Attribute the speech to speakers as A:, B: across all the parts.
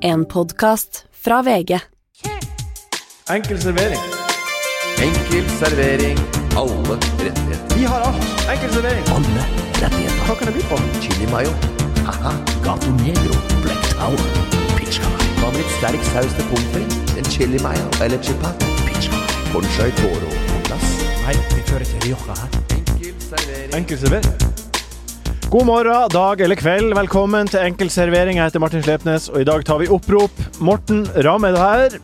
A: En podkast fra VG.
B: Enkel servering.
C: Enkel servering. Alle rettigheter.
B: Vi har alt. Enkel servering.
C: Alle rettigheter.
B: Hva kan det by på?
C: Chili mayo. Haha. Gato negro. Black tower. Pizza. Hva med litt sterk saus til pommes frites? En chili mayo eller chipat? Pizza. Conchai toro på glass.
D: Nei, vi kjører ikke Rioja her.
C: Enkel servering.
B: Enkel servering. God morgen, dag eller kveld. Velkommen til Enkel servering. Jeg heter Martin Slepnes, og i dag tar vi opprop. Morten Ramm er du her?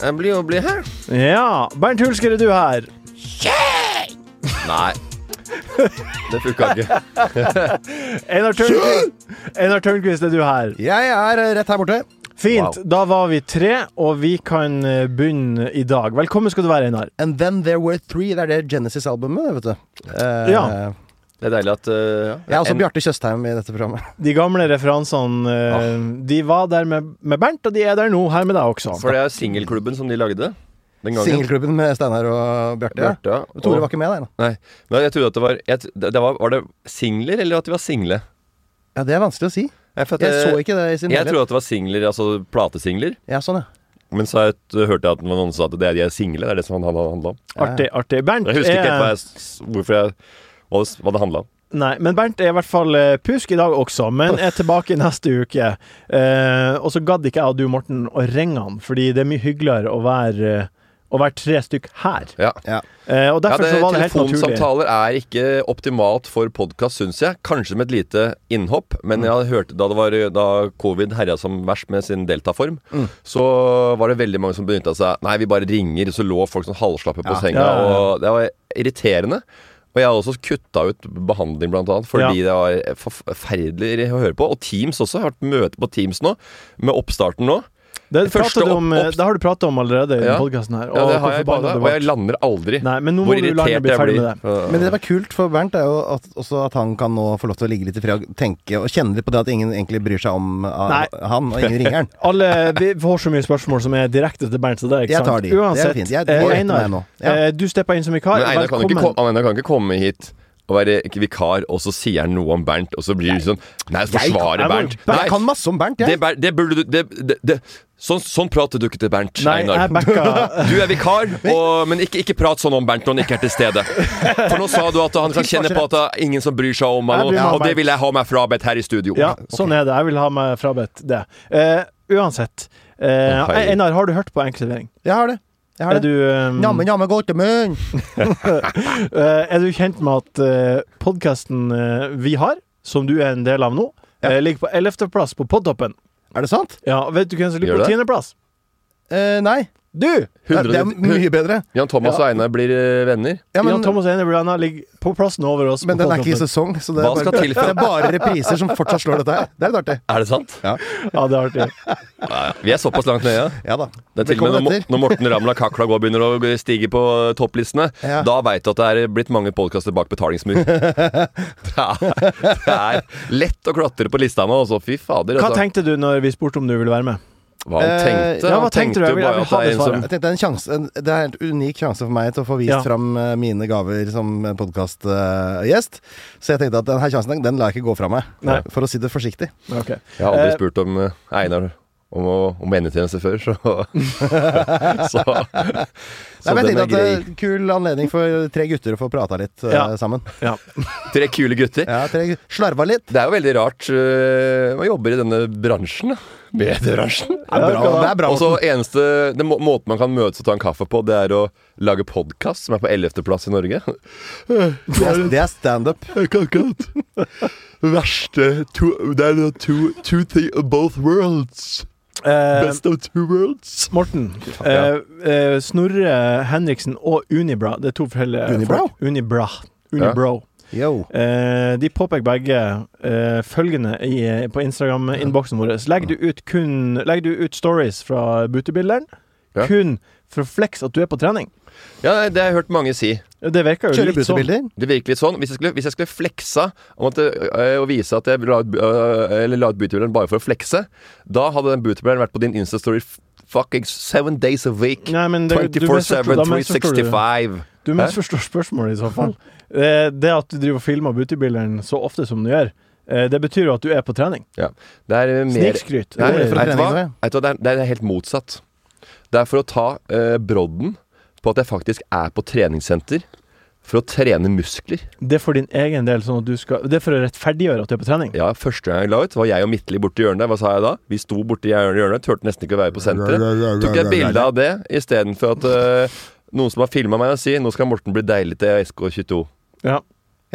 C: Jeg blir å bli her.
B: Ja. Bernt Hulsker er du her?
C: Nei. Det funka ikke.
B: Einar Tørnquist, Einar Tørnquist er du her?
E: Jeg er eh, rett her borte.
B: Fint.
C: Wow.
B: Da var vi tre, og vi kan eh, begynne i dag. Velkommen skal du være, Einar.
E: And Then There Were Three. Det er det Genesis-albumet, vet du. Eh,
B: Ja.
C: Det er deilig at eh,
E: Jeg er også Bjarte Tjøstheim i dette programmet.
B: De gamle referansene
C: Ah.
B: eh, De var der med, med Bernt, og de er der nå, her med deg også.
C: For det er singelklubben som de lagde den gangen.
E: Singelklubben med Steinar og Bjarte. Ja.
C: Bjarte
E: Og Tore var ikke med der. da.
C: Nei, men jeg trodde at det var jeg, t- det var, var det singler, eller at de var single?
E: Ja, Det er vanskelig å si.
C: Nei, for at
E: Jeg
C: det-
E: så ikke det i sin
C: Jeg
E: helhet.
C: trodde at det var singler, altså platesingler.
E: Ja, sånn, ja.
C: Men så jeg- hørte jeg at noen sa at det er de er single. Det er det som han- han handla om.
B: Artig, artig. Bernt
C: Jeg husker ikke helt hva
B: er,
C: jeg, s- hvorfor jeg hva det, s- hva det handla om.
B: nei, men Bernt er i hvert fall eh, pjusk i dag også, men er tilbake neste uke. Eh, og så gadd ikke jeg og du, Morten, å ringe han, fordi det er mye hyggeligere å være, eh, å være tre stykk her.
C: Ja.
E: ja.
B: Eh, og
C: Ja,
B: derfor
C: det,
B: så var det helt naturlig.
C: telefonsamtaler er ikke optimalt for podkast, syns jeg. Kanskje med et lite innhopp,
B: Mm.
C: men jeg hørte da, det var, da covid herja som verst med sin deltaform,
B: Mm.
C: så var det veldig mange som benytta seg Nei, vi bare ringer, så lå folk sånn halvslappe på senga,
B: Ja, ja, ja.
C: og det var irriterende. Og jeg har også kutta ut behandling, blant annet, fordi det var forferdelig å høre på. Og Teams også. Jeg har hatt møte på Teams nå, med oppstarten nå.
B: Det,
C: Første
B: pratet du om, eh,
C: opp- opp-
B: det har du prata om allerede i
C: Ja.
B: den podkasten her.
C: Ja,
B: og
C: det
B: hvor
C: har jeg
B: forbanna
C: bada,
B: du
C: og
B: var.
C: jeg lander aldri.
B: Nei, men nå må
C: Hvor
B: du lande og bli
C: irritert jeg
B: ferdig
C: blir.
B: med det.
C: Ja.
E: Men det som er kult for Bernt, er jo at, også at han kan nå få lov til å ligge litt i fred og tenke og kjenne litt på det at ingen egentlig bryr seg om ah,
B: Nei.
E: han, og ingen ringer han.
B: Alle, vi får så mye spørsmål som er direkte til Bernt, så det er ikke
E: Jeg
B: sant.
E: tar de. Det er
B: Uansett,
E: fint. Jeg-
B: eh,
E: jeg retter meg
B: Einar,
E: nå. Ja.
B: eh, du steppa inn som vikar.
C: Men Einar kan, jo ikke,
B: Velkommen.
C: ko- Einar kan ikke komme hit og være vikar, og så sier han noe om Bernt, og så blir det sånn Nei, forsvare
B: jeg må-
C: Bernt.
B: Bernt
C: Nei,
E: Jeg kan masse om Bernt,
C: det,
E: jeg.
C: Bernt- det burde du det, det, det. Sånn, sånn prater du ikke til Bernt,
B: Nei, jeg
C: Einar.
B: backa
C: Du er vikar, og, men ikke, ikke prat sånn om Bernt når han ikke er til stede. For nå sa du at han kan kjenne på at det er ingen som bryr seg om
B: Jeg
C: han,
B: bryr meg om
C: og det
B: Bernt.
C: vil jeg ha meg frabedt her i studio.
B: Ja, sånn er det. Jeg vil ha meg frabedt det. Eh, uansett. Eh,
C: Å, hei.
B: Einar, har du hørt på Enkelservering?
E: Jeg har det. Jeg har
B: Er,
E: det.
B: du, eh,
E: Jammen, jammen, Gautemunn.
B: eh, er du kjent med at eh, podkasten eh, vi har, som du er en del av nå,
E: Ja.
B: eh, ligger på 11.-plass på Podtoppen?
E: Er det sant?
B: Ja, og vet du hvem som ligger
C: Gjør
B: på
C: det?
B: 10.-plass?
E: Eh, nei.
B: Du!
E: Det er- det er
C: 100
E: mye bedre.
C: Jan Thomas og Einar blir eh, venner.
E: Ja,
B: Jan Thomas Einar Brenna ligger på plassen over oss.
E: Men
B: på
E: den er ikke i
B: Podtoppen.
E: sesong, så det
C: Hva
E: er,
C: skal
E: bare,
C: til
E: det
C: for-
E: er bare repriser som fortsatt slår dette her. Det er litt artig.
C: Er det sant?
B: Ja, det er artig.
C: Vi er såpass langt nede. ja.
E: Ja da.
C: Det er til og med når,
E: Velkommen
C: Mo-
E: etter.
C: når Morten Ramla Kakla går begynner å g- stige på eh, topplistene,
E: Ja.
C: da veit du at det er blitt mange podkaster bak betalingsmur. det, er, det er lett å klatre på lista nå, altså. Fy fader.
B: Hva
C: Altså.
B: tenkte du når vi spurte om du ville være med?
C: Hva han
E: Eh,
B: ja,
C: tenkte?
B: hva
C: han
B: tenkte
C: tenkte
B: du? Jeg
C: jo
B: vil- jeg
C: bare
B: vil
C: at
B: ha
C: det er
B: det
C: en som
E: Jeg tenkte en sjanse, en, Det er en helt unik sjanse for meg til å få vist
B: Ja.
E: fram eh, mine gaver som podkastgjest. så jeg tenkte at denne sjansen den lar jeg ikke gå fra meg,
B: Nei.
E: for å si det forsiktig.
B: Ok.
C: Jeg har aldri
B: Eh,
C: spurt om eh, Einar om, å, om vennetjeneste før, så Så,
E: Nei,
C: så
E: men jeg
C: den
E: tenkte at
C: er
E: eh,
C: grei.
E: det er en Kul anledning for tre gutter å få prata litt eh,
B: Ja.
E: sammen.
B: Ja.
C: Tre kule gutter.
E: Ja, tre gu- Slarva litt.
C: Det er jo veldig rart eh, Man jobber i denne bransjen, da. Mediebransjen.
E: Det er bra. Det er bra
C: Og så eneste det må, Måten man kan møtes og ta en kaffe på, det er å lage podkast, som er på 11. plass i Norge.
E: det er, det er standup.
C: Jeg kan ikke hatt verste to, Det er two, two things of both worlds.
B: Eh,
C: of two worlds.
B: Morten,
C: Ja.
B: eh, eh, Snorre Henriksen og Unibra Det er to forskjellige
E: Unibrow?
B: folk. Unibra. Unibro.
E: Yo.
B: Eh, de påpeker begge eh, følgende i, eh, på Instagram-innboksen vår. Legger du ut kun Legger du ut stories fra butebilderen
C: Ja.
B: kun for å flex at du er på trening?
C: Ja, nei, det har jeg hørt mange si.
B: Ja, Det virker jo
E: Kjører
B: litt sånn.
E: busebilder.
C: Det virker litt sånn. Hvis jeg skulle, hvis jeg skulle fleksa om at, det- øh, og vise at jeg la ut, øh, eller la ut butebilleren bare for å flekse, da hadde den butebilleren vært på din Insta-story f- fucking seven days a week.
B: Nei, men det, du misforstår-
C: 24-7,
B: da misforstår du det.
C: 365.
B: Du misforstår spørsmålet i så fall. Eh, Det at du driver og filmer butebilderen så ofte som du gjør, Eh, Det betyr jo at du er på trening.
C: Ja. Det er eh, mer
B: Snikskryt.
C: Nei,
E: Jo, det er
C: vet
E: for
C: du
E: trening,
C: hva?
E: det.
C: Vet du hva? Det er- Det er helt motsatt. Det er for å ta eh, brodden på at jeg faktisk er på treningssenter for å trene muskler.
B: Det er for din egen del, sånn at du skal Det er for å rettferdiggjøre at du er på trening.
C: Ja, Første gang jeg la ut, var jeg og Midtli borti hjørnet. der. Hva sa jeg da? Vi sto borti hjørnet, hjørnet turte nesten ikke å være på senteret. Tok jeg bilde av det istedenfor at eh, noen som har filma meg, og sier 'Nå skal Morten bli deilig til SK22'.
B: Ja.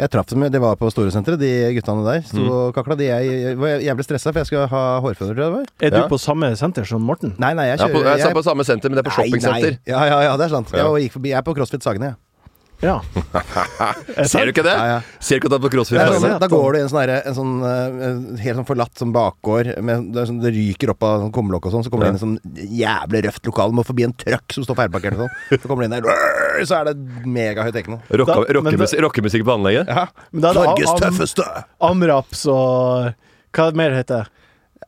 E: Jeg traff dem, de var på Storesenteret, de guttene der. Sto og kakla. De, jeg, jeg, var- jeg ble stressa, for jeg skulle ha hårføner, tror jeg det var.
B: Er du
C: Ja.
B: på samme senter som Morten?
E: Nei, nei, jeg
C: Jeg er på,
E: kjører
C: jeg er på samme senter, men det er på
E: Nei, nei.
C: shoppingsenter.
E: Ja, ja, ja, det er sant.
C: Ja.
E: Jeg, gikk forbi, jeg er på CrossFit Sagene, jeg.
B: Ja.
C: Ser du ikke det?
E: Ja, ja.
C: Ser du ikke at det er på crossfit?
E: Det er
B: Ja,
E: sånn,
B: sant.
E: da går du i en sånn, herre- en sånn eh, helt sånn forlatt sånn bakgård. Med, det, er sånn, det ryker opp av sånn kumlokk og sånn. Så kommer det inn i sånn jævlig røft lokal. Må forbi en trøkk som står feilparkert og sånn. Så kommer det inn der, rrr, så er det megahøy tekno.
C: Rocka-
B: Da- men
C: rockemusikk- Rockemusikk på anlegget?
E: Ja.
B: Men da er det
E: Norges
B: am-
E: tøffeste!
B: Amraps og Hva mer heter det?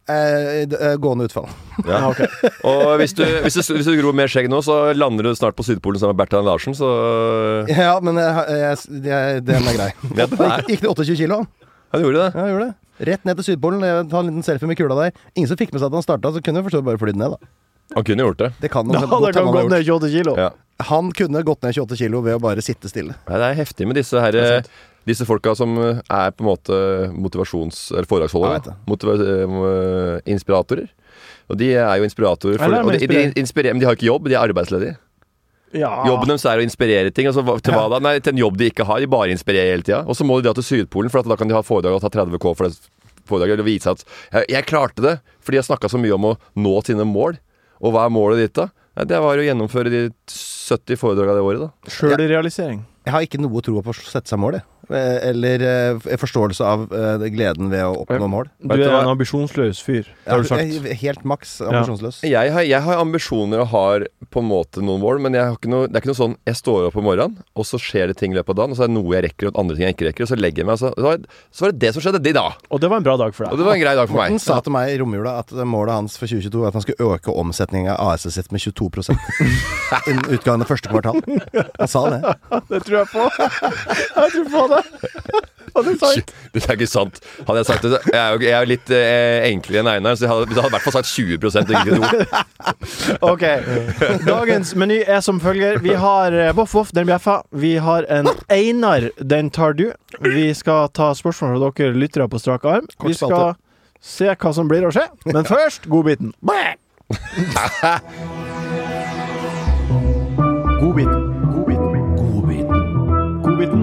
E: Eh, d- eh, gående utfall.
C: Ja.
B: Ja, ok.
C: Og hvis du, hvis, du, hvis du gror mer skjegg nå, så lander du snart på Sydpolen sammen med Bertrand Larsen, så
E: Ja, men jeg, jeg, jeg, den er grei.
C: Ja, den er.
E: Gikk det 28 kilo?
C: Han gjorde det.
E: Ja, jeg gjorde det. Rett ned til Sydpolen. Jeg tar en liten selfie med kula der. Ingen som fikk med seg at han starta, så kunne jeg forstå bare flydd ned, da.
C: Han kunne gjort det.
E: Det kan
B: Da
E: han
B: hadde
E: godt
B: jeg
E: hende han
B: gått
E: har
B: ned 28 kilo.
C: Ja.
E: gjort. Han kunne gått ned 28 kilo ved å bare sitte stille.
C: Nei, det er heftig med disse her eh, Disse folka som eh, er på en måte motivasjons...
E: Jeg
C: Eller
E: vet
C: foredragsholdere.
E: det.
C: Motiva eh, inspiratorer. Og de er jo inspiratorer, for,
B: Eller er
C: og
B: de
C: de, de inspirerer, men de har ikke jobb, de er arbeidsledige.
B: Ja.
C: Jobben deres er å inspirere ting. Altså, hva- til, hva da? Nei, til en jobb de ikke har. De bare inspirerer hele tida. Og så må de dra til Sydpolen, for at da kan de ha foredrag og ta 30 K for det foredraget. Eller vise at jeg, 'jeg klarte det', fordi jeg snakka så mye om å nå sine mål. Og hva er målet ditt, da? Nei, det var å gjennomføre de 70 foredraga det året, da.
B: Sjølrealisering.
E: Jeg har ikke noe tro på å sette seg mål, jeg. Eh, Eller eh, f- forståelse av eh, gleden ved å oppnå mål.
B: Du
C: Vet du
B: er
C: hva?
B: en ambisjonsløs fyr, har du sagt.
E: Jeg er Helt maks ambisjonsløs.
C: Jeg har, jeg har ambisjoner og har på en måte noen mål, men jeg har ikke noe, det er ikke noe sånn jeg står opp om morgenen, og så skjer det ting i løpet av dagen, og så er det noe jeg rekker, og andre ting jeg ikke rekker, og så legger jeg meg, og så, så var det- så var det det som skjedde i dag.
B: Og det var en bra dag for
C: Og
B: deg.
C: det var en grei dag for meg.
E: Morten sa til meg i romjula at målet hans for 2022 var at han skulle øke omsetningen av AS-et sitt med 22 innen utgangen av første kvartal. Han sa det.
B: Det tror jeg på. Jeg tror på det. Og det er sant.
C: Det er ikke sant. Hadde jeg sagt det, så- jeg er jo, jeg er jo litt eh, enklere enn Einar, så jeg hadde, jeg hadde i hvert fall sagt 20 og ikke to.
B: Ok. Dagens meny er som følger. Vi har eh, Voff Voff, den bjeffa. Vi har en Einar, den tar du. Vi skal ta spørsmål fra dere lyttere på strak arm.
E: Kort
B: Vi skal se hva som blir å skje. Men først godbiten. Godbiten. Godbiten. Godbiten. Godbiten.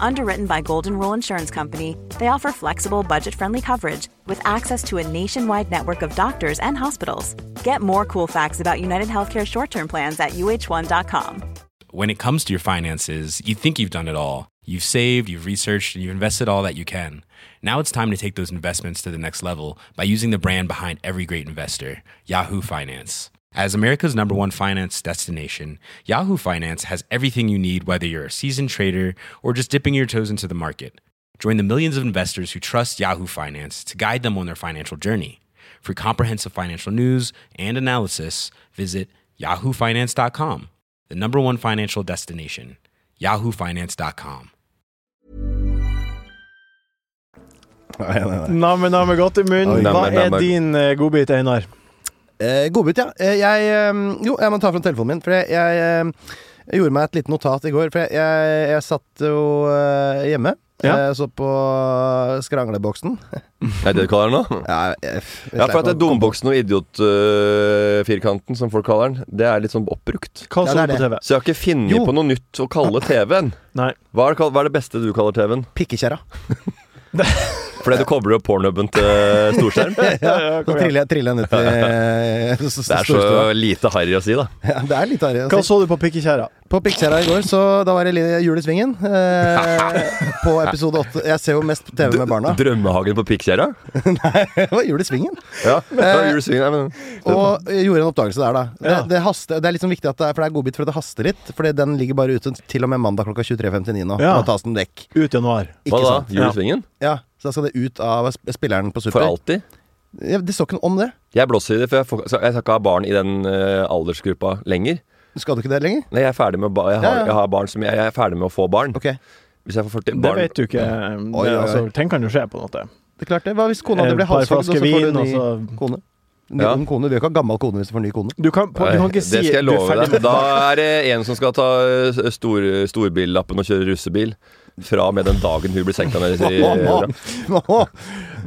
F: Underwritten by Golden Rule Insurance Company, they offer flexible, budget friendly coverage with access to a nationwide network of doctors and hospitals. Get more cool facts about United Healthcare short term plans at uh1.com.
G: When it comes to your finances, you think you've done it all. You've saved, you've researched, and you've invested all that you can. Now it's time to take those investments to the next level by using the brand behind every great investor, Yahoo Finance. As America's number one finance destination, Yahoo Finance has everything you need, whether you're a seasoned trader or just dipping your toes into the market. Join the millions of investors who trust Yahoo Finance to guide them on their financial journey. For comprehensive financial news and analysis, visit yahoofinance.com, the number one financial destination, yahoofinance.com.
E: Nei, nei, nei.
B: Namme, namme godt i munnen.
C: Oi.
B: Hva
C: Namme,
B: er
C: namme.
B: din eh, godbit, Einar?
E: Eh, Godbit, ja. Eh, jeg, eh, jo, jeg må ta fram telefonen min, for jeg, jeg, eh, jeg gjorde meg et lite notat i går. For jeg, jeg, jeg satt jo eh, hjemme.
B: Ja.
E: eh, Så på skrangleboksen.
C: Er det det du kaller den nå?
E: Ja, jeg- jeg
C: Ja, for at
E: sleit med
C: det er
E: å-
C: dumboksen og idiotfirkanten, som folk kaller den, det er litt sånn oppbrukt.
B: Hva
E: Ja,
B: så
E: det er
B: du på TV?
C: Så jeg har ikke funnet
E: Jo.
C: på noe nytt å kalle TV-en.
B: Nei.
C: Hva er, det, kall- hva er det beste du kaller TV-en?
E: Pikkekjerra.
C: Fordi du kobler opp pornhuben til storskjerm?
B: Ja, ja,
E: Så
B: kom igjen.
E: triller jeg, triller jeg ned til eh, s- s-
C: Det er
E: storstua.
C: så lite harry å si, da.
E: Ja, det er litt arrig. å
B: Hva
E: si.
B: så du på Pikkekjerra?
E: På Pixera i går, så da var det li- julesvingen. Eh, på episode åtte. Jeg ser jo mest på TV med barna.
C: Drømmehagen på Pikkjerra?
E: Det var julesvingen.
C: Ja. ja, julesvingen, nei, men-
E: Og jeg gjorde en oppdagelse der, da. Det,
B: Ja.
E: det, haster, det er litt sånn viktig at det er, for det er godbit for at det haster litt. Fordi den ligger bare ute til og med mandag klokka 23.59 nå.
B: Ja.
E: Må tas den vekk.
B: Ut januar.
E: Ikke
C: Hva da?
E: sant?
C: Julesvingen?
E: Ja, så da skal det ut av sp- spilleren på Super.
C: For alltid?
E: Ja, det står ikke noe om det.
C: Jeg blåser i det, for jeg, får, jeg skal ikke ha barn i den eh, aldersgruppa lenger.
E: Skal du ikke det lenger?
C: Nei, jeg er ferdig med, å ba jeg har,
E: Ja, ja.
C: jeg har barn som jeg, jeg er ferdig med å få barn.
E: Ok, det
C: Hvis jeg får 40
B: Det
C: barn
B: vet du ikke.
E: Oi,
B: Det,
E: oi, oi.
B: altså, ting kan jo skje på en måte.
E: er klart det. Hva hvis kona di
B: Et
E: blir
B: par
E: halshogd, og så
B: flasker
E: får du
B: vin,
E: en
B: og
E: ny
B: så
E: kone? Ny
C: Ja.
E: ung kone. Du vil jo ikke ha gammel kone hvis du får ny kone.
B: Du kan, du kan ikke si
C: Det skal jeg
B: du er
C: love
B: ferdig
C: deg.
B: med
C: Da er det en som skal ta eh, stor, storbillappen og kjøre russebil. Fra og med den dagen hun blir senka ned i
E: Åh,
C: røra.
E: åh, åh.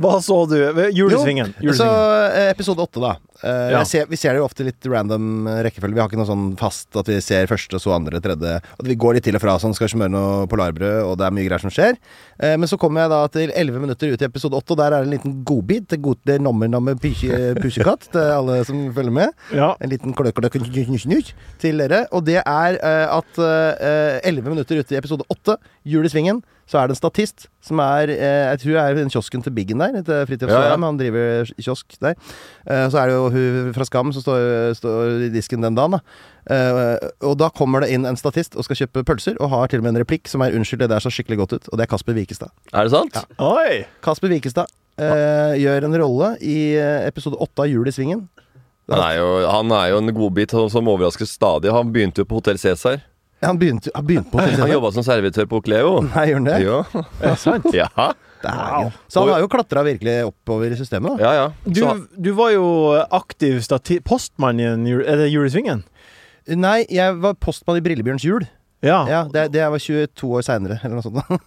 B: Hva så du? Julesvingen.
E: Jo, så
B: Julesvingen.
E: eh, episode åtte, da. Eh,
B: Ja.
E: jeg ser, vi ser det jo ofte litt random eh, rekkefølge. Vi har ikke noe sånn fast at vi ser første, så andre, tredje. At vi går litt til og fra sånn, skal smøre noe polarbrød, og det er mye greier som skjer. Eh, men så kommer jeg da til elleve minutter ut i episode åtte, og der er det en liten godbit til god, til nommer-namme pusekatt til alle som følger med.
B: Ja.
E: En liten kløkkløkk til dere. Og det er eh, at eh, elleve minutter ute i episode åtte, Jul i svingen, så er det en statist som er eh, Jeg tror det er i den kiosken til Biggen der. Til Fritjof
C: Ja, ja.
E: Solheim, Han driver kiosk der. Eh, så er det jo hun fra Skam som står, står i disken den dagen. Da. Eh, og da kommer det inn en statist og skal kjøpe pølser, og har til og med en replikk som er 'Unnskyld, det der så skikkelig godt ut'. Og det er Kasper Wikestad.
C: Er det sant?
B: Oi!
E: Kasper Wikestad eh, gjør en rolle i eh, episode åtte av Jul i svingen.
C: Han er jo, han er jo en godbit han- som overrasker stadig. Han begynte jo på Hotell Cæsar.
E: Han begynte, han begynte på
C: Han jobba som servitør på Cleo.
E: Nei, gjør han det?
C: Ja.
B: Er det sant?
C: Ja.
E: Dægen. Så han har jo klatra virkelig oppover i systemet, da.
C: ja, ja.
B: Du,
C: Så,
B: du var jo aktiv stati postmann i en jul- Er det Julesvingen?
E: Nei, jeg var postmann i Brillebjørns jul.
B: Ja.
C: Ah.
E: Ja, det, det jeg var 22 år seinere, eller noe sånt. da.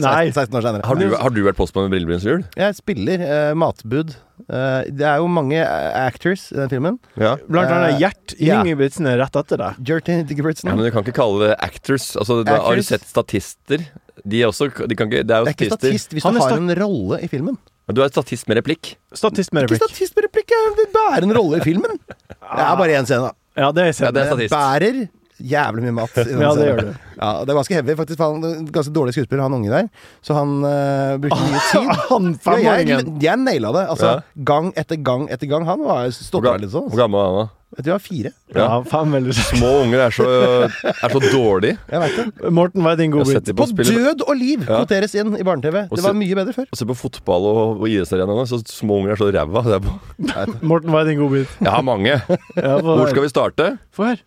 E: 16,
B: Nei.
E: 16 år senere.
C: har, du, har du vært postmann med Brillebryns jul?
E: Jeg spiller eh, matbud. Eh, det er jo mange eh, actors i den filmen.
C: Ja.
B: Blant annet Gjert
E: Ja.
B: Ingebrigtsen er rett etter deg.
E: Jertin Diggertson.
C: Ja, men du kan ikke kalle det actors. Altså, da har du
E: Actors?
C: sett statister? De er også de kan ikke, Det er jo
E: det er ikke
C: statister.
E: statist hvis
B: Han
E: du
B: er
E: har
B: stat-
E: en rolle i filmen.
C: Men du er statist med replikk.
B: Statist med
E: Ikke
B: replikk.
E: statist med replikk, jeg bærer en rolle i filmen. Det er bare én scene, da.
B: Ja, det er
C: Ja, det
B: sant.
C: er
E: Jeg
C: statist.
E: bærer jævlig mye mat. i den
B: Ja, det
E: serien.
B: gjør du.
E: Ja, og det er ganske heavy, faktisk. for Han, det er en ganske dårlig skuespiller, han unge der. Så han eh, brukte mye tid.
B: Han
E: Ja, jeg,
B: femåringen.
E: jeg naila det. Altså,
C: Ja.
E: Gang etter gang etter gang. Han var
C: Hvor
E: stått
C: ga-
E: der litt sånn.
C: hvor gammel er han da?
E: Jeg tror jeg var fire.
B: Ja, fem eller seks.
C: Små unger er så, er så dårlige.
E: Jeg vet det.
B: Morten, hva er din
C: Jeg setter
B: godbit?
C: på
E: På
C: å spille
E: død og liv
C: Ja.
E: kvoteres inn i barne-TV.
C: Og
E: Det
C: så-
E: var mye bedre før.
C: Og se på fotball og, og idrettsarenaene, så små unger er så ræva. Det er på-
B: Morten, hva er din godbit?
C: Jeg har mange.
B: Ja, få
C: Hvor
B: høre.
C: skal vi starte?
B: Få høre.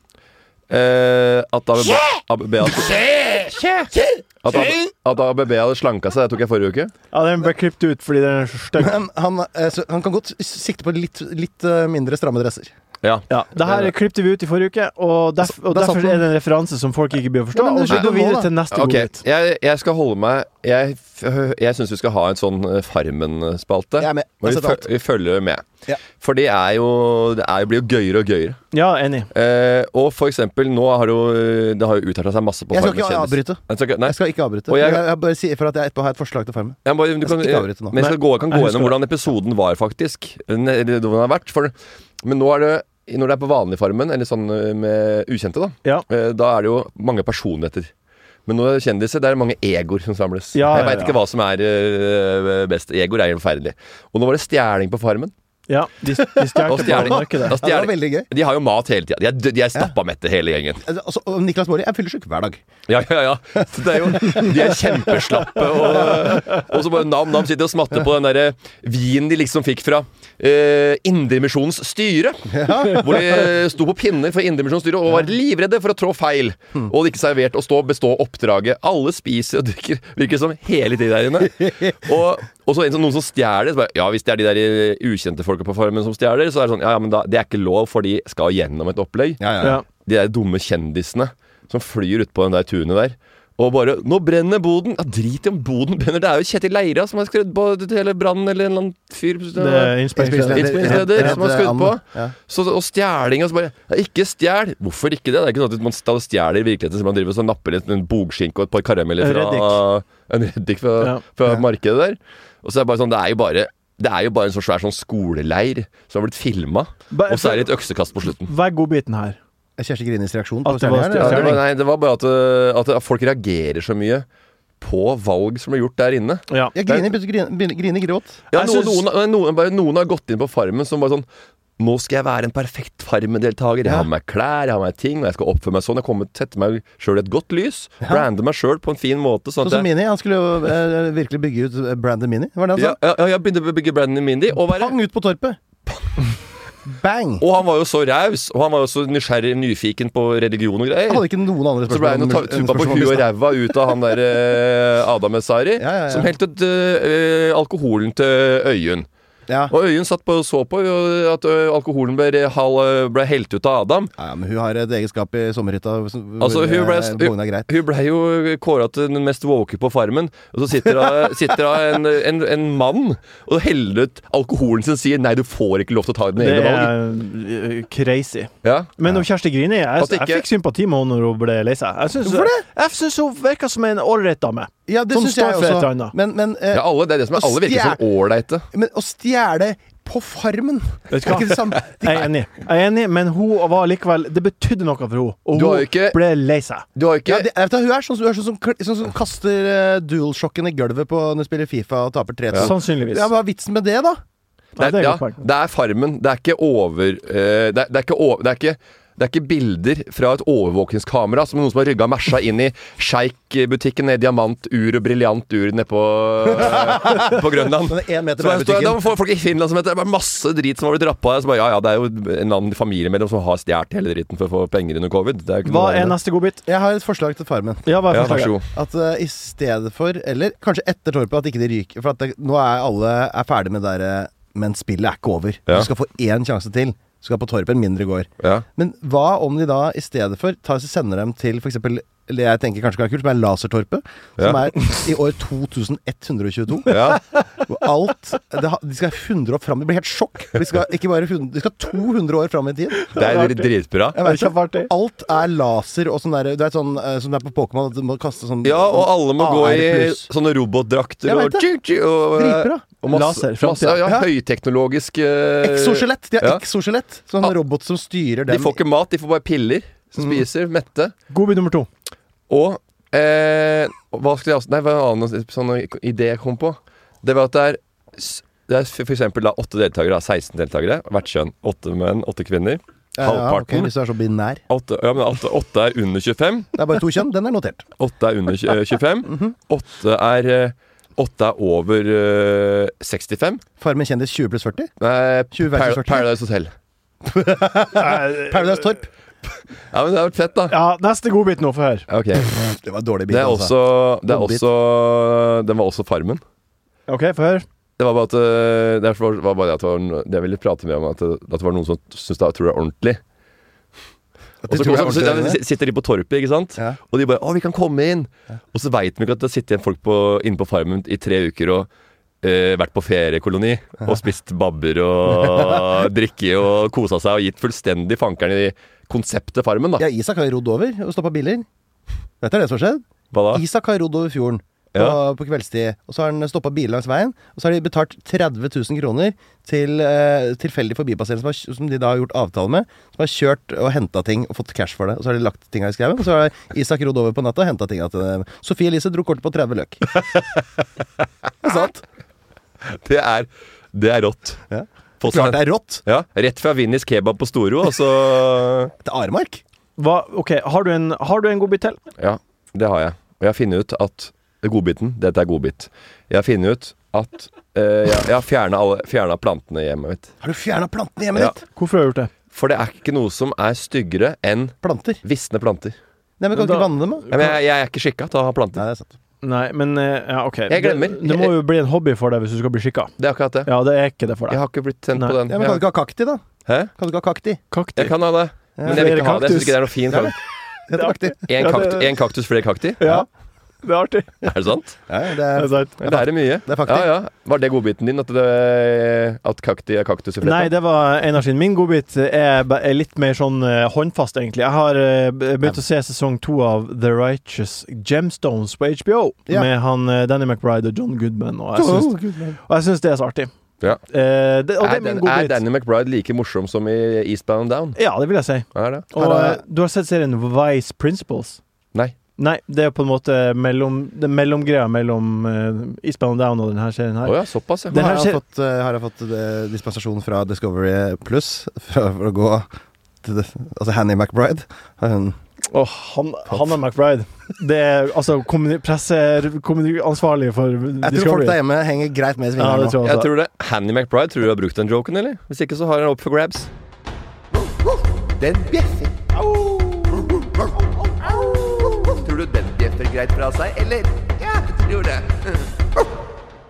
C: Eh, at ABB Ab- Beate- At ABB at ABB hadde slanka seg, det tok jeg forrige uke.
B: Ja, den ble klippet ut fordi den er så stygg.
E: Men han, eh, så han kan godt s- sikte på litt, litt eh, mindre stramme dresser.
C: Ja.
B: Ja, det her klippet vi ut i forrige uke, og, derf og
E: Altså, Der satt
B: derfor
E: den.
B: er det en referanse som folk ikke bør forstå.
E: Ja, men
B: Og
E: det
B: vi
E: skjønner
B: går
E: vi nå,
B: videre
E: da.
B: til neste
C: Ok,
B: godbit.
C: jeg, jeg skal holde meg Jeg, jeg syns vi skal ha en sånn eh, Farmen-spalte.
E: Jeg er med.
C: Hvor
E: Jeg
C: vi,
E: setter alt.
C: føl- vi følger med.
E: altså Ja.
C: For det er jo Det er, blir jo gøyere og gøyere.
B: Ja, enig.
C: Eh, og for eksempel, nå har jo eh, Det har jo utarta seg masse på
E: Jeg skal
C: Farmen
E: ikke
C: kjendis.
E: avbryte.
C: Jeg skal ikke- Nei,
E: Jeg skal ikke avbryte.
C: Og jeg-
E: Jeg, jeg bare sier for at jeg etterpå har et forslag til Farmen.
C: jeg, må bare, du
E: skal
C: kan,
E: ikke avbryte nå.
C: Men jeg skal gå, jeg kan
B: Nei,
C: gå
B: jeg
C: gjennom
B: husker
C: hvordan episoden var, faktisk. Ne- eller Hvordan den har vært. For, men nå er det når det er på vanlig Farmen, eller sånn eh, med ukjente, da,
B: Ja.
C: eh, da er det jo mange personligheter. Men når det er kjendiser, det er mange egoer som samles.
B: Ja,
C: jeg
B: ja,
C: veit
B: ja.
C: ikke hva som er eh, best. Egoer er jo forferdelig. Og nå var det stjeling på Farmen.
B: Ja, de, de stjal
C: Og
B: det på
C: stjeling.
B: markedet.
E: Ja,
C: Da
E: det var
C: stjeling-
E: veldig gøy.
C: De har jo mat hele tida. De er, dø- de er stappa mette, hele gjengen.
E: Altså, altså, og Niklas Baarli er fyllesyk hver dag.
C: Ja, ja, ja. Så det er jo, de er kjempeslappe. Og, og så bare Nam Nam sitter og smatter på den der vinen de liksom fikk fra eh, Indremisjonens styre. Hvor de eh, sto på pinner for Indremisjonens styre og var livredde for å trå feil. Og det ikke servert å stå, bestå oppdraget. Alle spiser og drikker, virker som hele tiden der inne. Og, og så en som, noen som stjeler. Så bare, ja, hvis det er de der eh, ukjente folka på farmen som stjeler, så er det sånn Ja, ja, men da, det er ikke lov, for de skal gjennom et opplegg
B: Ja.
C: de der dumme kjendisene som flyr utpå den der tunet der. Og bare 'Nå brenner boden!' Ja, drit i om boden brenner. Det er jo Kjetil Leira som har skrudd på hele brannen, eller en eller annen fyr
B: Det er innspillingsleder.
C: Innspillingsleder som har skrudd på.
E: Ja.
C: Så, og stjeling og så bare ja, Ikke stjel! Hvorfor ikke det? Det er ikke sånn at man st- stjeler i virkeligheten, så man driver og så napper litt en bogskinke og et par karameller
B: En
C: fra En reddik fra,
B: Ja.
C: fra
E: Ja.
C: markedet der. Og så er det bare sånn Det er jo bare det er jo bare en sånn svær sånn skoleleir som har blitt filma,
B: Ba-
C: og så er det et øksekast på slutten.
B: Hva er godbiten her?
E: Kjersti Grinis reaksjon
B: At
E: på
B: det var
E: stjernen her? eller?
C: Ja, det var, nei, det var bare at, uh, at folk reagerer så mye på valg som blir gjort der inne.
B: Ja.
E: Ja, Grini begynte å grine, begynte- Grini gråt.
C: Ja,
B: Jeg
C: noen,
B: syns-
C: noen, noen, bare, noen har gått inn på Farmen som bare sånn Nå skal jeg være en perfekt Farmen-deltaker. Jeg har med meg klær, jeg har med meg ting, og jeg skal oppføre meg sånn. Jeg kommer til å sette meg sjøl i et godt lys. Brande meg sjøl på en fin måte. Sånn
E: Sånn
C: at
E: som
C: jeg,
E: Mini. Han skulle jo eh, virkelig bygge ut eh, Brandon Mini. Var det han
C: ja,
E: sa?
C: ja, ja, jeg begynte å bygge branden min. Og, være,
E: Pang ut på torpet! Bang!
C: og han var jo så raus, og han var jo så nysgjerrig, nyfiken på religion og greier.
E: Han hadde ikke noen andre
C: Så ble
E: spørsmål.
C: han jo ta-
E: om- enn
C: tuppa på
E: spørsmål om
C: huet og
E: business.
C: ræva ut av han der eh, Adam Esari,
E: Ja, ja, ja.
C: som helte ut eh, alkoholen til Øyunn.
E: Ja.
C: Og Øyunn satt på og så på jo at ø, alkoholen ble, hal- eh, ble helt ut av Adam.
E: Ja, ja, men hun har et eget skap i sommerhytta hvor
C: Altså, hun ble,
E: eh, vogna er greit.
C: hun ble jo kåra til den mest woke på Farmen. Og så sitter, da- sitter da en, en, en mann og heller ut alkoholen sin og sier 'nei, du får ikke lov til å ta dine
B: Det
C: egne valg'.
B: er eh, crazy.
C: Ja.
B: Men om Kjersti Grini jeg,
C: At ikke-
B: jeg fikk sympati med henne når hun ble lei seg. Jeg syns-
E: Hvorfor
B: Jeg syns hun virka som en ålreit dame.
E: Ja, det
B: Som
E: syns jeg
B: står for et eller
E: også.
B: annet.
E: Men, men, eh,
C: Ja, alle, det er det som er, alle virker som ålreite.
E: men å stjele på farmen
B: Vet du hva?
E: Er ikke det samme?
B: Jeg er enig, jeg er enig men hun var likevel Det betydde noe for henne, og
C: Du har
B: hun
C: jo ikke-
B: ble lei seg.
C: Du har ikke
E: Ja, det, vet du, hun er sånn, hun er sånn, som kl- sånn som kaster uh, dualshocken i gulvet på når hun spiller Fifa og taper 3-2. Ja.
B: Sannsynligvis.
E: hva er vitsen med det, da?
C: Det
B: Nei,
C: er,
B: det er
C: ja,
B: godt poeng.
C: det er farmen. Det er ikke over eh, det, er, det, er ikke over det, er ikke, det er ikke bilder fra et overvåkingskamera som noen som har rygga mersa inn i sjeikbutikken ned diamantur og briljantur nede på, eh, på Grønland.
E: Den er én meter
C: Så
E: fra
C: jeg står, da
E: butikken.
C: får folk i Finland som heter Det er bare masse drit som har blitt rappa. Så bare, ja, ja, det er jo en annen familiemedlem som har stjålet hele dritten for å få penger under covid. Det er jo ikke
B: Hva
C: noe
B: er
C: annet.
B: neste godbit?
E: Jeg har et forslag til Farmen.
B: Ja, hva er
C: Ja, vær
B: forslaget?
C: så god.
E: At eh, i stedet for, eller kanskje etter Torpet, at ikke de ryker. For at det, nå er alle er ferdig med det derre Men spillet er ikke over.
C: Ja.
E: Du skal få én sjanse til. Du skal på Torpet en mindre gård.
C: Ja.
E: Men hva om de da i stedet for tar, sender dem til f.eks. Eller jeg tenker kanskje kan være kult, som er Lasertorpet. Som
C: Ja.
E: er i år 2122.
C: Ja.
E: Hvor alt det, ha- De skal 100 år fram. Det blir helt sjokk. De skal, ikke bare 100, de skal 200 år fram i tid.
C: Det er dritbra.
E: Jeg
B: Det er
E: vet ikke.
B: kjempeartig.
E: Alt er laser og sånn der Du vet sånn eh, som det er på Pokémon, at du må kaste sånn
C: Ja, og alle må
B: Ah,
E: AR+.
C: gå i sånne robotdrakter
E: Jeg
C: og,
E: vet det.
C: tju- tju- og eh,
E: Dritbra.
C: Og masse,
B: Laser,
C: masse,
B: fremtiden.
C: ja,
E: Ja.
C: Høyteknologisk eh,
E: Exoskjelett! De har
C: ja.
E: exoskjelett. Sånn
C: Ah.
E: robot som styrer
C: De
E: dem.
C: får ikke mat, de får bare piller. Som spiser, mette.
B: Godbit nummer to.
C: Og eh, Hva skulle jeg også Nei, hva var en annen sånn idé jeg kom på? Det var at det er, s- det er for eksempel da åtte deltakere, da, 16 deltakere, hvert kjønn. Åtte menn, åtte kvinner.
E: Ja, ja, ok,
C: Halvparten.
E: hvis du er så binær.
C: Åtte, ja, men åtte, åtte er under 25.
E: Det er bare to kjønn. Den er notert.
C: Åtte er under tj- eh, 25. Åtte er eh, Åtte er over eh, 65.
E: Farmen kjendis 20 pluss 40.
C: Nei,
E: 20 versus
C: Par
E: 40.
C: Paradise Hotel.
E: Paradise Torp.
C: Ja, men det hadde vært fett, da.
B: Eh, Ja, neste godbit nå, få høre.
C: Ok.
E: Det var en dårlig altså. bil.
C: Det er også, det er
E: Godbit.
C: også Den var også Farmen.
B: OK, få høre.
C: Det var bare at øh, Det var var bare det at det var, no- det jeg ville prate med om, at det, at det var noen som syns det tror det er ordentlig.
E: At
C: Og
E: de tror
C: så
E: det er
C: og så-
E: ordentlig,
C: ja, sitter de på torpet, ikke sant?
E: Ja.
C: Og de bare 'Å, vi kan komme inn'. Og så veit de ikke at det sitter igjen folk på, inne på Farmen i tre uker og øh, vært på feriekoloni og spist babber og drikke og kosa seg og gitt fullstendig fankeren i konseptet Farmen, da.
E: Ja, Isak har jo rodd over og stoppa biler. Dette er det som har skjedd.
C: Hva da?
E: Isak har rodd over fjorden på,
C: Ja.
E: på kveldstid. Og så har han stoppa biler langs veien, og så har de betalt 30 000 kroner til eh, tilfeldig forbipasserende som, har- som de da har gjort avtale med, som har kjørt og henta ting og fått cash for det. Og så har de lagt tinga i skauen, og så har Isak rodd over på natta og henta tinga til dem. Sofie Elise dro kortet på 30 løk. det er sant.
C: Det er, det er rått.
E: Ja.
C: Få seg-
E: Klart det er rått.
C: Ja, rett fra Vinnies kebab på Storo, og så
E: Det er Aremark.
B: Hva, OK, har du en, har du en godbit til?
C: Ja, det har jeg. Og jeg har funnet ut at Godbiten, dette er godbit. Jeg har funnet ut at eh, jeg, jeg har fjerna alle- fjerna plantene i hjemmet mitt.
E: Har du fjerna plantene i hjemmet
C: Ja.
E: ditt?
B: Hvorfor har du gjort det?
C: For det er ikke noe som er styggere enn
E: Planter.
C: visne planter.
E: Nei, men Kan
B: Men
E: du ikke
B: da-
E: vanne dem, da?
C: Ja, men jeg, jeg er ikke skikka til å ha planter.
E: Nei, det er sant.
B: Nei, men eh, ja, OK.
C: Jeg glemmer.
B: Det, det må jo bli en hobby for deg hvis du skal bli skikka.
C: Det er akkurat det.
B: Ja, det er ikke det for
C: Jeg
B: deg.
C: har ikke blitt tent
B: Nei.
C: på den.
E: Ja, men kan du
C: Jeg,
E: ikke ha kakti, da?
C: hæ?
E: Kan du ikke ha kakti?
B: Kaktus.
C: jeg kan ha det. Men jeg vil
B: Flere
C: ikke ha det. Jeg syns
B: kaktus.
C: ikke det er noe fint.
E: Ja, Det heter kakti.
B: Ja,
C: Én
B: det-
C: kaktus, en kaktus flere kakti?
B: Ja. Det er artig.
C: Er det sant?
E: Ja, ja, det
B: Det
E: er
B: er sant.
C: Det er det mye.
E: Det er fakti.
C: Ja, ja. Var det godbiten din? At, det, at kakti er kaktus i
B: Nei,
C: fletta?
B: det var Einar sin. Min godbit er, ba- er litt mer sånn eh, håndfast, egentlig. Jeg har eh, b- begynt å se sesong to av The Righteous Gemstones på HBO.
E: Ja.
B: Med han eh, Danny McBride og John Goodman, og jeg syns, og jeg syns det er så artig.
C: Ja.
B: Eh, det, og det er
C: Er,
B: min
C: Dan, er
B: godbit.
C: Danny McBride like morsom som i Eastbound Down?
B: Ja, det vil jeg si.
C: Er det?
B: Og
E: Her er-
B: eh, du har sett serien Vice Principles?
C: Nei.
B: Nei, det er på en måte mellom, det er mellomgreia mellom eh, Eastbound and Down og denne serien
C: Å
B: her.
C: ja, såpass, ja.
B: Det her
E: har,
B: ser-
E: jeg fått, eh, har jeg fått eh, dispensasjon fra Discovery Plus for, for å gå til det, Altså Hanny McBride. Har hun
B: Og han, Hanna McBride. Det er altså kommuni- presse- kommuni- ansvarlig for
E: Jeg tror folk der hjemme henger greit med
B: Ja,
E: i svingene
B: det
E: nå.
B: tror jeg
C: Jeg
B: også.
C: tror det. Hanny McBride, tror du har brukt den joken, eller? Hvis ikke, så har han opp for grabs.
D: Den bjeffer. Tror du den bjeffer greit fra seg, eller? Ja, jeg tror det.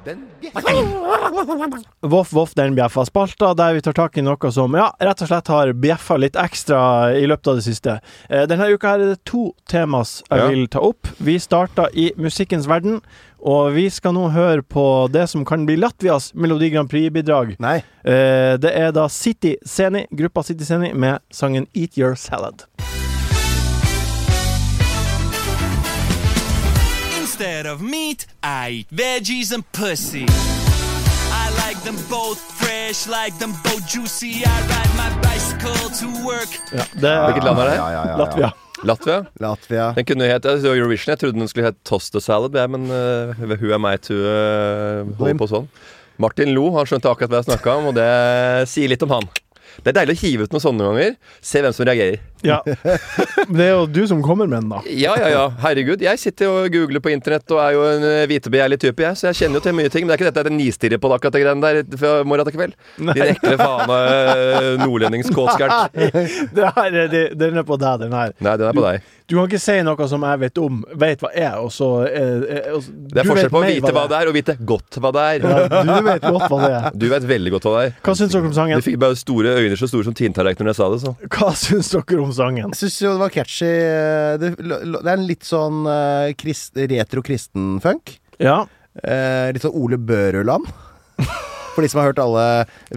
D: Den bjeffer.
B: Voff, voff, den bjeffa spalta, der vi tar tak i noe som ja, rett og slett har bjeffa litt ekstra i løpet av det siste. Eh, denne uka her er det to temas jeg
C: Ja.
B: vil ta opp. Vi starta i musikkens verden, og vi skal nå høre på det som kan bli Latvias Melodi Grand Prix-bidrag.
E: Nei.
B: Eh, det er da City Seni, gruppa City Seni, med sangen Eat Your Salad.
H: Instead of meat, I eat veggies and pussy. I like them both fresh, like them both juicy. I ride my bicycle to work.
B: Ja, det
C: Hvilket land er det?
E: Ja, ja, ja, ja.
B: Latvia.
C: Latvia?
E: Latvia.
C: Den kunne jo het jeg så Eurovision. Jeg trodde den skulle hett Toss the Salad, jeg, men uh, who am I to eh, holde på sånn? Martin lo, han skjønte akkurat hva jeg snakka om, og det sier litt om han. Det er deilig å hive ut noen sånne ganger. Se hvem som reagerer.
B: Ja. Det er jo du som kommer med den, da.
C: Ja, ja, ja. Herregud. Jeg sitter og googler på internett og er jo en eh, vitebegjærlig type, jeg. Så jeg kjenner jo til mye ting. Men det er ikke dette jeg nistirrer på det akkurat det greiene der fra morgen til kveld. Din ekle faen eh, av nordlendingskåtskalk.
B: Det her, er- det, den er på deg, den her.
C: Nei, den er på deg.
B: Du kan ikke si noe som jeg vet om, vet hva er, og så eh, eh, og så-
C: Det er
B: du vet
C: forskjell på å
B: mer
C: vite hva det er, og vite godt hva det er.
B: Ja, du vet godt hva det er.
C: Du vet veldig godt hva det er.
B: Hva syns dere om sangen?
C: Du fikk bare store øyne så store som tinntallerkener når jeg sa det, så.
B: Hva syns dere om sangen?
E: Jeg syns jo det var catchy. eh, Det, det er en litt sånn eh, krist, retro-kristen-funk.
B: Ja.
E: Eh, litt sånn Ole Børøland. For de som har hørt alle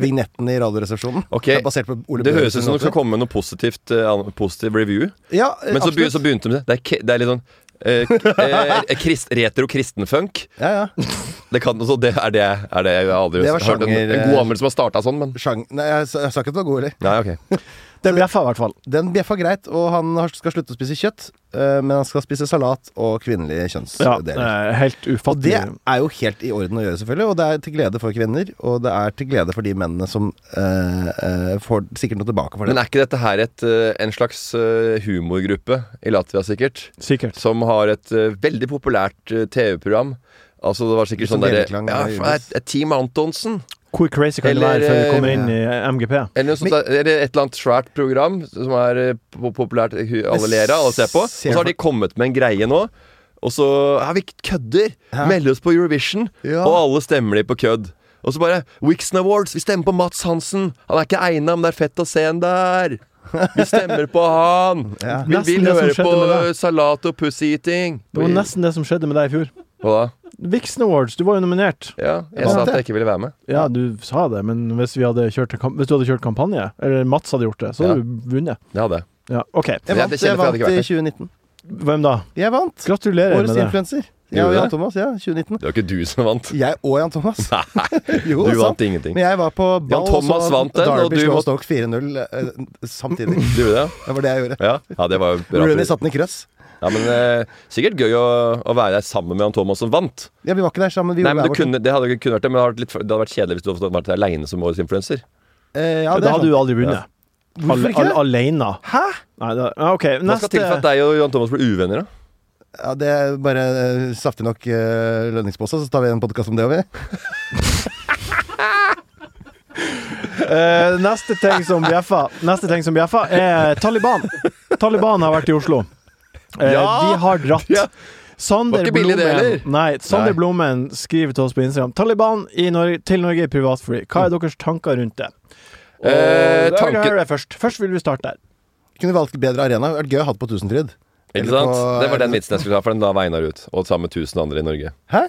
E: vignettene i Radioresepsjonen.
C: Ok.
E: Det er basert på Ole
C: Det
E: Børø
C: høres ut som det skal komme med noe positivt, eh, an- positiv review.
E: Ja, eh,
C: Men så, be,
E: absolutt.
C: så begynte de med det. Det er, ki- det er litt sånn eh, k- eh, krist, retro-kristenfunk.
E: Ja, ja.
C: Det kan altså, det er det, er det jeg aldri
E: Det
C: har
E: var
C: hørt. En,
E: sjanger,
C: en
E: eh,
C: god anmeldelse som har starta sånn, men
E: Sjang... Nei, jeg, sa- jeg sa ikke at det var god, heller.
C: Nei, ok.
B: Det bjeffa i hvert fall.
E: Den bjeffa greit, og han har- skal slutte å spise kjøtt. eh, men han skal spise salat og kvinnelige
B: Ja,
E: kjønnsdeler.
B: eh, helt
E: Og det
B: ufattelig.
E: er jo helt i orden å gjøre, selvfølgelig. Og det er til glede for kvinner, og det er til glede for de mennene som eh, eh, får sikkert noe tilbake for
C: Men
E: det.
C: er ikke dette her et, eh, en slags eh, humorgruppe i Latvia, sikkert?
B: Sikkert.
C: Som har et eh, veldig populært eh, TV-program. Altså, det var sikkert
E: Som
C: sånn derre
E: Bjelleklang
C: ja,
E: og
C: faen,
E: Jonas.
C: er- er Team Antonsen.
B: Hvor crazy kan det
C: Eller,
B: være før vi kommer
E: eh,
B: inn i MGP?
C: Eller, noe sånt, der- eller et eller annet svært program som er eh, po- populært hu- alle ler av og ser på. Og så har de kommet med en greie nå. Og så Ja, vi kødder! Melder oss på Eurovision,
E: Ja.
C: og alle stemmer de på kødd. Og så bare Wixon Awards! Vi stemmer på Mats Hansen! Han er ikke egna, men det er fett å se han der! Vi stemmer på han! Vi
B: Nesten
C: vil
B: det som
C: høre
B: skjedde
C: på
B: med deg.
C: salat og pussy-eating.
B: Det var nesten det som skjedde med deg i fjor.
C: Hva da?
B: Vixen Awards, du var jo nominert.
C: Ja, jeg
B: Vant
C: sa at
B: det.
C: jeg ikke ville være med.
B: Ja, du sa det, men hvis, vi hadde kjørt, kamp- hvis du hadde kjørt kampanje, eller Mats hadde gjort det, så hadde
C: Ja.
B: du vunnet.
C: Det hadde jeg.
B: Ja, OK.
E: Jeg vant,
C: Men jeg- det
E: jeg
C: kjenner for jeg hadde
E: vant
C: ikke vært
E: i
C: der.
E: 2019.
B: Hvem da?
E: Jeg vant!
B: Gratulerer
E: Årets
B: med det.
E: influenser. Jeg og
C: Gjorde
E: Jan
C: det?
E: Thomas. Ja, 2019.
C: Det var ikke du som vant.
E: Jeg og Jan Thomas. jo,
C: Du
E: sant.
C: vant ingenting.
E: Men jeg var på ball
C: Jan Thomas
E: og så
C: vant den, og
E: Derby
C: du
E: slo
C: måtte-
E: Stoke 4-0 eh, samtidig.
C: Du gjorde det?
E: Det var det jeg gjorde. sånn.
C: Ja, ja det var jo bra.
E: Rooney satte den i krøss.
C: Ja, men eh, Sikkert gøy å, å være der sammen med han Thomas som vant.
E: Ja, vi var ikke der sammen. Vi
C: Nei,
E: gjorde
C: men
E: hver
C: du
E: vårt.
C: kunne, Det hadde ikke kunnet vært det, men det hadde vært, litt, det hadde vært kjedelig hvis du hadde vært aleine som årets influenser.
E: Eh, ja, det
B: Da hadde
E: er sant.
B: du aldri vunnet.
E: Hvorfor
B: Al
E: ikke
B: al
E: det?
B: alene.
E: Hæ?
B: Nei, da, ja, OK.
C: Hva skal til for at
B: Neste
C: deg og Jan Thomas blir uvenner, da?
E: Ja, det er bare eh, saftig nok eh, lønningspose, så tar vi en podkast om det over.
B: eh, Neste ting som bjeffa, Neste ting som bjeffa er Taliban. Taliban har vært i Oslo. Eh,
C: Ja!
B: De har dratt.
C: Ja.
B: Sander
C: Var ikke billig det
B: Blommen,
C: heller.
B: nei, Sander
C: Nei.
B: Blommen skriver til oss på Instagram Taliban i Norge, til Norge i privatfly. Hva
C: Mm.
B: er deres tanker rundt det? Og da
C: Eh,
B: vil jeg
C: tanken-
B: høre det først. Først vil vi starte der.
E: Kunne valgt bedre arena. Det hadde vært gøy å ha det på Tusenfryd.
C: Ikke
E: Eller
C: sant?
E: på-
C: Det var den vitsen jeg skulle ta, for den la Veinar ut. Og sammen med 1000 andre i Norge.
E: Hæ?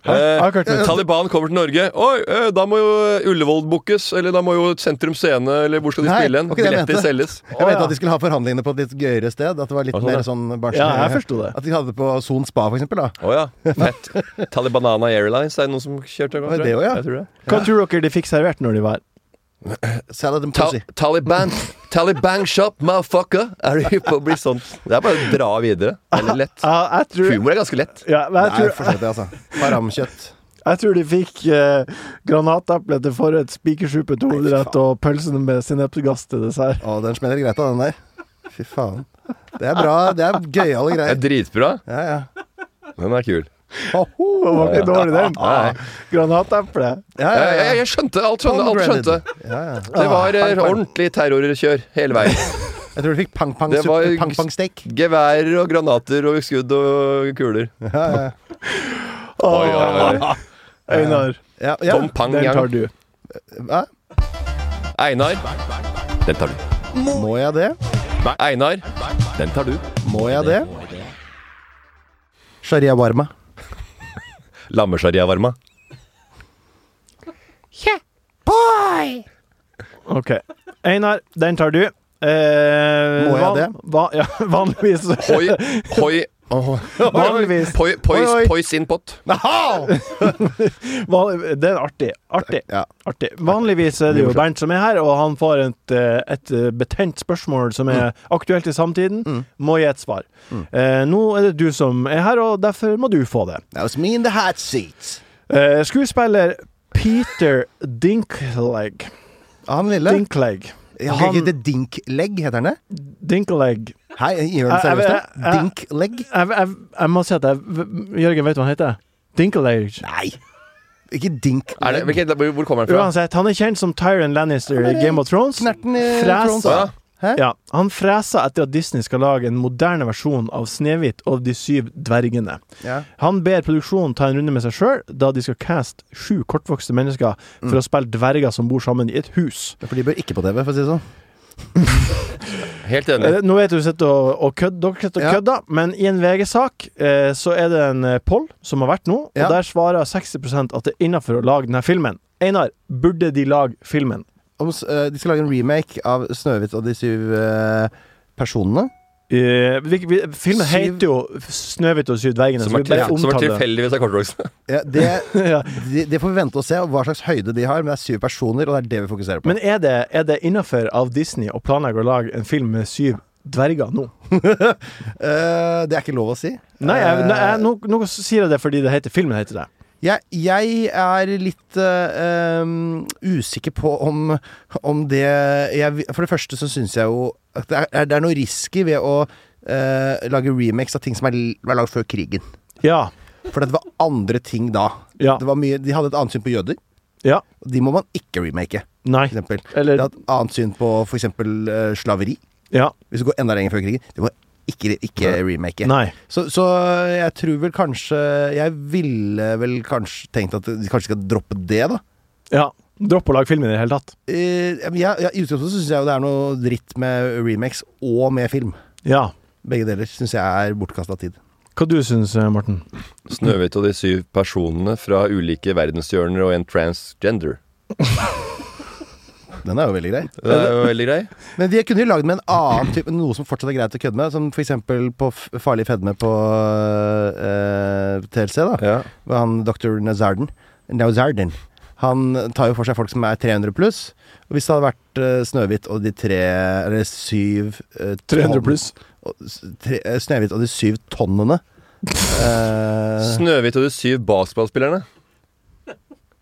B: Jeg har ikke hørt
C: Eh,
B: noe.
C: Taliban kommer til Norge. Oi, eh, da må jo Ullevål bookes, eller da må jo Sentrum Scene, eller hvor skal de
E: Nei,
C: spille hen?
E: ok, jeg
C: Billetter
E: mente.
C: selges.
E: Jeg mente
B: ja.
E: at de skulle ha forhandlingene på et litt gøyere sted. At det var litt
B: sånn,
E: mer
B: ja.
E: sånn barnslig.
B: Ja, jeg forsto det.
E: At de hadde det på Son Spa, for eksempel. Da.
C: Å ja. Fett. Talibanana Airlines, er det noen som kjørte?
E: Var det det også, ja?
C: Jeg tror det.
B: Hva tror dere de fikk servert når de var her?
E: Salad and
C: Ta
E: pussy.
C: Taliban Taliban shop, motherfucker! Er du hypp på å bli sånn? Det er bare å dra videre. Eller lett.
B: Ja, jeg tror,
C: Humor er ganske lett.
B: ja, men jeg
E: Nei,
B: tror,
E: fortsett det, altså. Haramkjøtt.
B: Jeg tror de fikk eh, granateple til forrett, spikersupet hovedrett og pølsene med sinepsgass til dessert.
E: Å, den smeller greit av, den der. Fy faen. Det er bra. Det er gøyale
C: Det er
E: greier.
C: dritbra.
E: Ja, ja.
C: Den er kul.
E: Ho-ho.
B: Det var ikke dårlig,
C: Nei.
B: den. Granateple.
E: Ja,
C: Jeg,
E: ja,
C: jeg,
E: ja.
C: jeg skjønte. Alt skjønte. Alt
E: Pomegranate.
C: skjønte.
E: ja, ja.
C: Det var eh, ordentlig terrorkjør hele veien.
E: Jeg tror du fikk
C: Det var-
E: pang-pang-steak.
C: Geværer og granater og skudd og kuler. Ah.
E: Ja, ja.
B: Åh,
C: Oi, oi, oi.
B: Einar,
E: Ja, ja.
C: Tom Eh, Pang
B: den tar
C: Yang.
B: du.
E: Hæ?
C: Einar. Den tar du.
E: Må jeg det?
C: Einar. Den tar du.
E: Må jeg det? Sharia warma.
C: Lammesharia-varma.
B: Ok. Einar, den tar du. Eh,
E: Må jeg
B: van-
E: det?
B: va- ja, vanligvis
C: Hoi, hoi
B: Vanligvis.
C: Poi,
E: Oi, oi.
C: pois, pois in pot.
B: Van- Den er artig. Artig.
E: Ja.
B: artig. Vanligvis er det jo Bernt som er her, og han får et, eh, et eh, betent spørsmål som
C: Mm.
B: er aktuelt i samtiden. Må gi et svar. Eh, nå er det du som er her, og derfor må du få det.
E: That was me in the hot seat.
B: Eh, skuespiller Peter Dinkleg
E: Ah, han lille.
B: Dinkleg.
E: Ja,
B: Han-
E: Heter det Dinklegg, heter han det?
B: Dinkleg.
E: Hei, gjør det
B: Jeg- jeg-
E: seriøst
B: jeg-
E: det?
B: jeg-
E: Dinklegg?
B: Jeg, jeg, jeg må si at jeg Jørgen, vet du hva han heter? Dinkleg.
E: Nei. Ikke
C: Er det,
E: Dinklegg.
C: hvilket- hvor hvor kommer den fra?
B: Uansett, han er kjent som Tyron Lannister i
E: er
B: Game of Thrones.
E: Knerten i
B: Fresa.
E: Thrones.
C: Å, ja.
E: Hæ?
B: Ja, han freser etter at Disney skal lage en moderne versjon av Snehvit og de syv dvergene.
E: Ja.
B: Han ber produksjonen ta en runde med seg sjøl, da de skal caste sju kortvokste mennesker for å spille dverger som bor sammen i et hus.
E: For de bør ikke på TV, for å si det sånn.
C: Helt enig.
B: Eh, Nå vet du sitter og, og kødd, dere sitter og
E: Ja.
B: kødder, men i en VG-sak eh, så er det en eh, poll som har vært nå, og
E: Ja.
B: der svarer 60 at det er innafor å lage denne filmen. Einar, burde de lage filmen?
E: Om, s- eh, de skal lage en remake av 'Snøhvit og de syv eh, personene'.
B: Eh, vi, vi, filmen
E: Syv-
B: heter jo 'Snøhvit og de syv dvergene',
C: Som
B: så
C: er,
B: vi bare
C: til, som er
B: omtaler det.
C: tilfeldigvis er kortvoksen.
E: Ja, det,
B: Ja.
E: det, det får vi vente og se, hva slags høyde de har. Men det er syv personer, og det er det vi fokuserer på.
B: Men er det, er det innafor av Disney å planlegge å lage en film med syv dverger nå?
E: Eh, det er ikke lov å si.
B: Nei, jeg,
E: Eh,
B: nei jeg, nå, nå sier jeg det fordi det heter filmen heter det.
E: Jeg, jeg er litt eh, em, usikker på om, om det jeg, For det første så syns jeg jo at det er, det er noe risky ved å eh, lage remakes av ting som er, l- var lagd før krigen.
B: Ja.
E: For det var andre ting da.
B: Ja.
E: Det var mye, de hadde et annet syn på jøder.
B: ja.
E: og De må man ikke remake,
B: Nei.
E: for eksempel.
B: Eller-
E: De hadde et annet syn på for eksempel eh, slaveri.
B: Ja.
E: Hvis du går enda lenger før krigen. Det må ikke, ikke remake.
B: Nei.
E: Så, så jeg tror vel kanskje Jeg ville vel kanskje tenkt at de kanskje skal droppe det, da.
B: Ja. Dropp å lage film i det hele tatt.
E: Eh, men jeg, jeg, I utgangspunktet syns jeg jo det er noe dritt med remakes og med film.
B: Ja.
E: Begge deler syns jeg er bortkasta tid.
B: Hva du syns du, Morten?
C: Snøhvit og de syv personene fra ulike verdenshjørner og en transgender.
E: Den er jo veldig grei.
C: Det er jo veldig grei.
E: Men de kunne jo lagd med en annen type noe som fortsatt er greit å kødde med. Som for eksempel på F- Farlig fedme på eh, TLC, da.
C: Ja.
E: Hvor han dr. Nazarden Nazarden Han tar jo for seg folk som er 300 pluss. Og hvis det hadde vært uh, Snøhvit og de tre Eller syv eh, tonn- og s- tre- eh, Snøhvit og de syv tonnene. Eh,
C: Snøhvit og de syv basketballspillerne.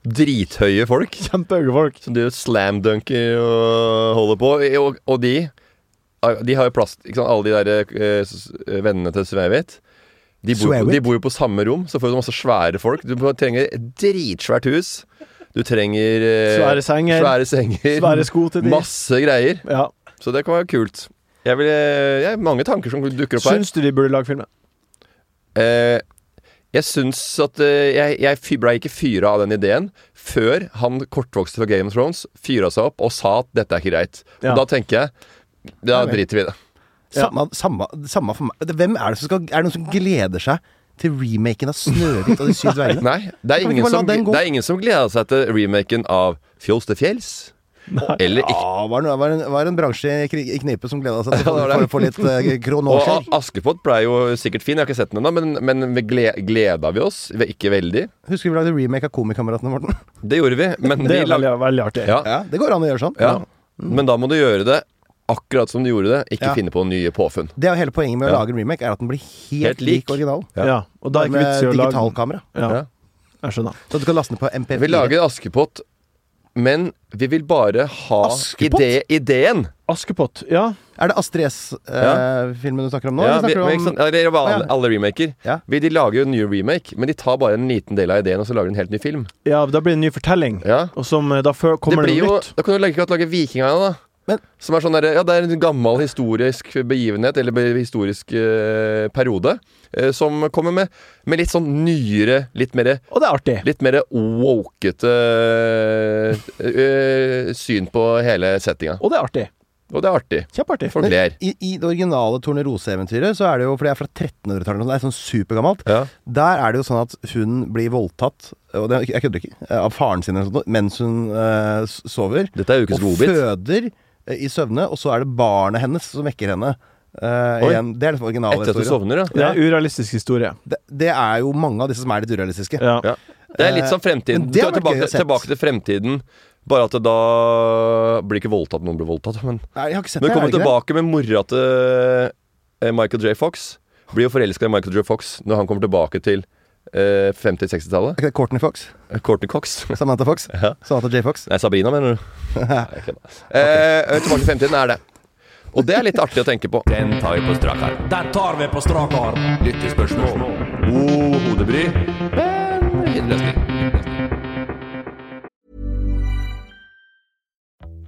C: Drithøye folk
B: Kjempehøye folk.
C: som driver og slamdunker og holder på. Og, og de ah, De har jo plass ikke sant? Alle de der eh, s- vennene til Snøhvit. De, bor jo på- de
E: Snøhvit?
C: bor jo på samme rom, så får du masse svære folk. Du trenger et dritsvært hus. Du trenger eh,
B: Svære senger.
C: svære senger.
B: Svære sko til de.
C: Masse greier.
B: Ja.
C: Så det kan være kult. Jeg vil, eh, jeg har mange tanker som dukker opp her.
B: Syns du de burde lage filmen?
C: Eh, jeg syns at eh, Jeg, jeg fy- ble ikke fyra av den ideen før han kortvokste fra Game of Thrones fyra seg opp og sa at dette er ikke greit.
B: Ja.
C: Og da tenker jeg da
E: vel.
C: driter vi i det.
E: samme, samme, samme for meg. Hvem er det som skal Er det noen som gleder seg til remaken av 'Snøhvit og de syv dvergene'?
C: Nei, det er,
E: vi
C: ingen
E: ikke bare la
C: som,
E: den gå?
C: det er ingen som gleder seg til remaken av Fjols til fjells. Eller ikke.
E: Ja, Ah, var det var en, var en bransje i kri- i knipe som gleda seg til
C: Ja,
E: å
C: det
E: få-
C: var det.
E: få litt uh, kronåskjær.
C: Og Askepott ble jo sikkert fin, jeg har ikke sett den ennå, men, men vi gle, gleda vi oss? Vi- Ikke veldig.
E: Husker vi lagde remake av Komikameratene, Morten?
C: Det gjorde vi, men
B: Det
C: vi
B: er
C: lag-
B: veldig, veldig artig.
C: ja, ja.
E: Ja, det går an å gjøre sånn.
C: Men da må du gjøre det akkurat som du gjorde det, ikke
E: Ja.
C: finne på nye påfunn.
E: Det er jo hele poenget med å
C: Ja.
E: lage en remake, er at den blir helt,
C: Helt lik.
E: lik originalen.
B: Ja. Og da er ikke vits i
E: Med
B: å lage
E: digitalkamera.
B: ja,
C: Ja.
B: Jeg skjønner.
E: Så du kan laste den på MP4.
C: Vi lager Askepott, men vi vil bare ha
E: Askepott?
C: ide, ideen.
B: Askepott, ja.
E: Er det Astrid
C: Ja.
E: S-filmen du snakker om nå?
C: Ja,
E: eller
C: vi,
E: snakker
C: men
E: du
C: ikke
E: om...
C: sant? Eller det var alle,
E: Ja.
C: alle remaker.
E: Ja.
C: Vi- De lager jo en ny remake, men de tar bare en liten del av ideen og så lager de en helt ny film.
B: ja. Da blir det en ny fortelling,
C: Ja.
B: og som eh, da før
C: Det
B: kommer det,
C: blir jo,
B: noe nytt.
C: da kan du like godt lage Vikingene, da.
E: Men-
C: som er sånn der, ja, Det er en gammel historisk begivenhet, eller be- historisk eh, periode, eh, som kommer med, med litt sånn nyere, litt mer
B: Og det er artig.
C: Litt mer wokete eh, eh, syn på hele settinga.
B: Og det er artig.
C: Og det er artig.
B: Kjempeartig.
C: Folk ler.
E: I, I det originale Tornerose-eventyret, så er det jo For det er fra 1300-tallet, så det er sånn supergammelt.
C: Ja.
E: Der er det jo sånn at hun blir voldtatt, og det, jeg kødder ikke, eh, av faren sin eller noe sånt, mens hun eh, s- sover.
C: Dette er ukens
E: og
C: godbit.
E: føder eh, i søvne, og så er det barnet hennes som vekker henne. Eh,
C: Oi.
E: igjen, det er liksom
C: Etter at du
E: originalhistorien.
C: sovner,
B: Det
C: ja.
B: er en urealistisk historie.
E: Det, det er jo mange av disse som er litt urealistiske.
B: Ja.
C: ja. Det er litt som fremtiden.
E: Men det
C: Du
E: har
C: er
E: vært gøy å
C: tilbake,
E: sett.
C: tilbake til fremtiden, bare at det da blir ikke voldtatt noen blir voldtatt. Men
E: Nei, jeg har ikke sett
C: Når
E: det. er
C: hun
E: det
C: kommer
E: ikke det?
C: tilbake med mora til eh, Michael J. Fox Blir jo forelska i Michael J. Fox når han kommer tilbake til eh,
E: Er
C: 50-60-tallet.
E: ikke det Courtney Fox?
C: Eh, Courtney Cox.
E: Samantha Fox?
C: Ja.
E: Samantha J. Fox?
C: Nei, Sabrina, mener du? Nei, jeg kødder. Eh, tilbake til fremtiden er det. Og det er litt artig å tenke på. Den tar vi på strak arm.
H: Den tar vi på strak arm.
C: Lyttespørsmål. God hodebry. Men fin løsning.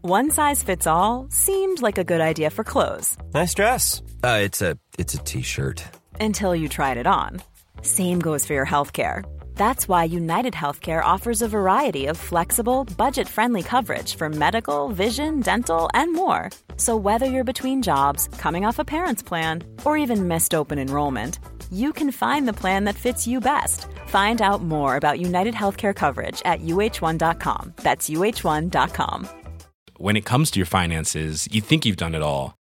F: One size fits all seemed like a good idea for clothes
H: Nice dress. Uh, it's a it's a t-shirt.
F: until you tried it on. Same goes for your healthcare. That's why United Healthcare offers a variety of flexible, budget friendly coverage for medical, vision, dental, and more. So, whether you're between jobs, coming off a parent's plan, or even missed open enrollment, you can find the plan that fits you best. Find out more about United Healthcare coverage at uh1.com. That's uh1.com.
G: when it comes to your finances, you think you've done it all.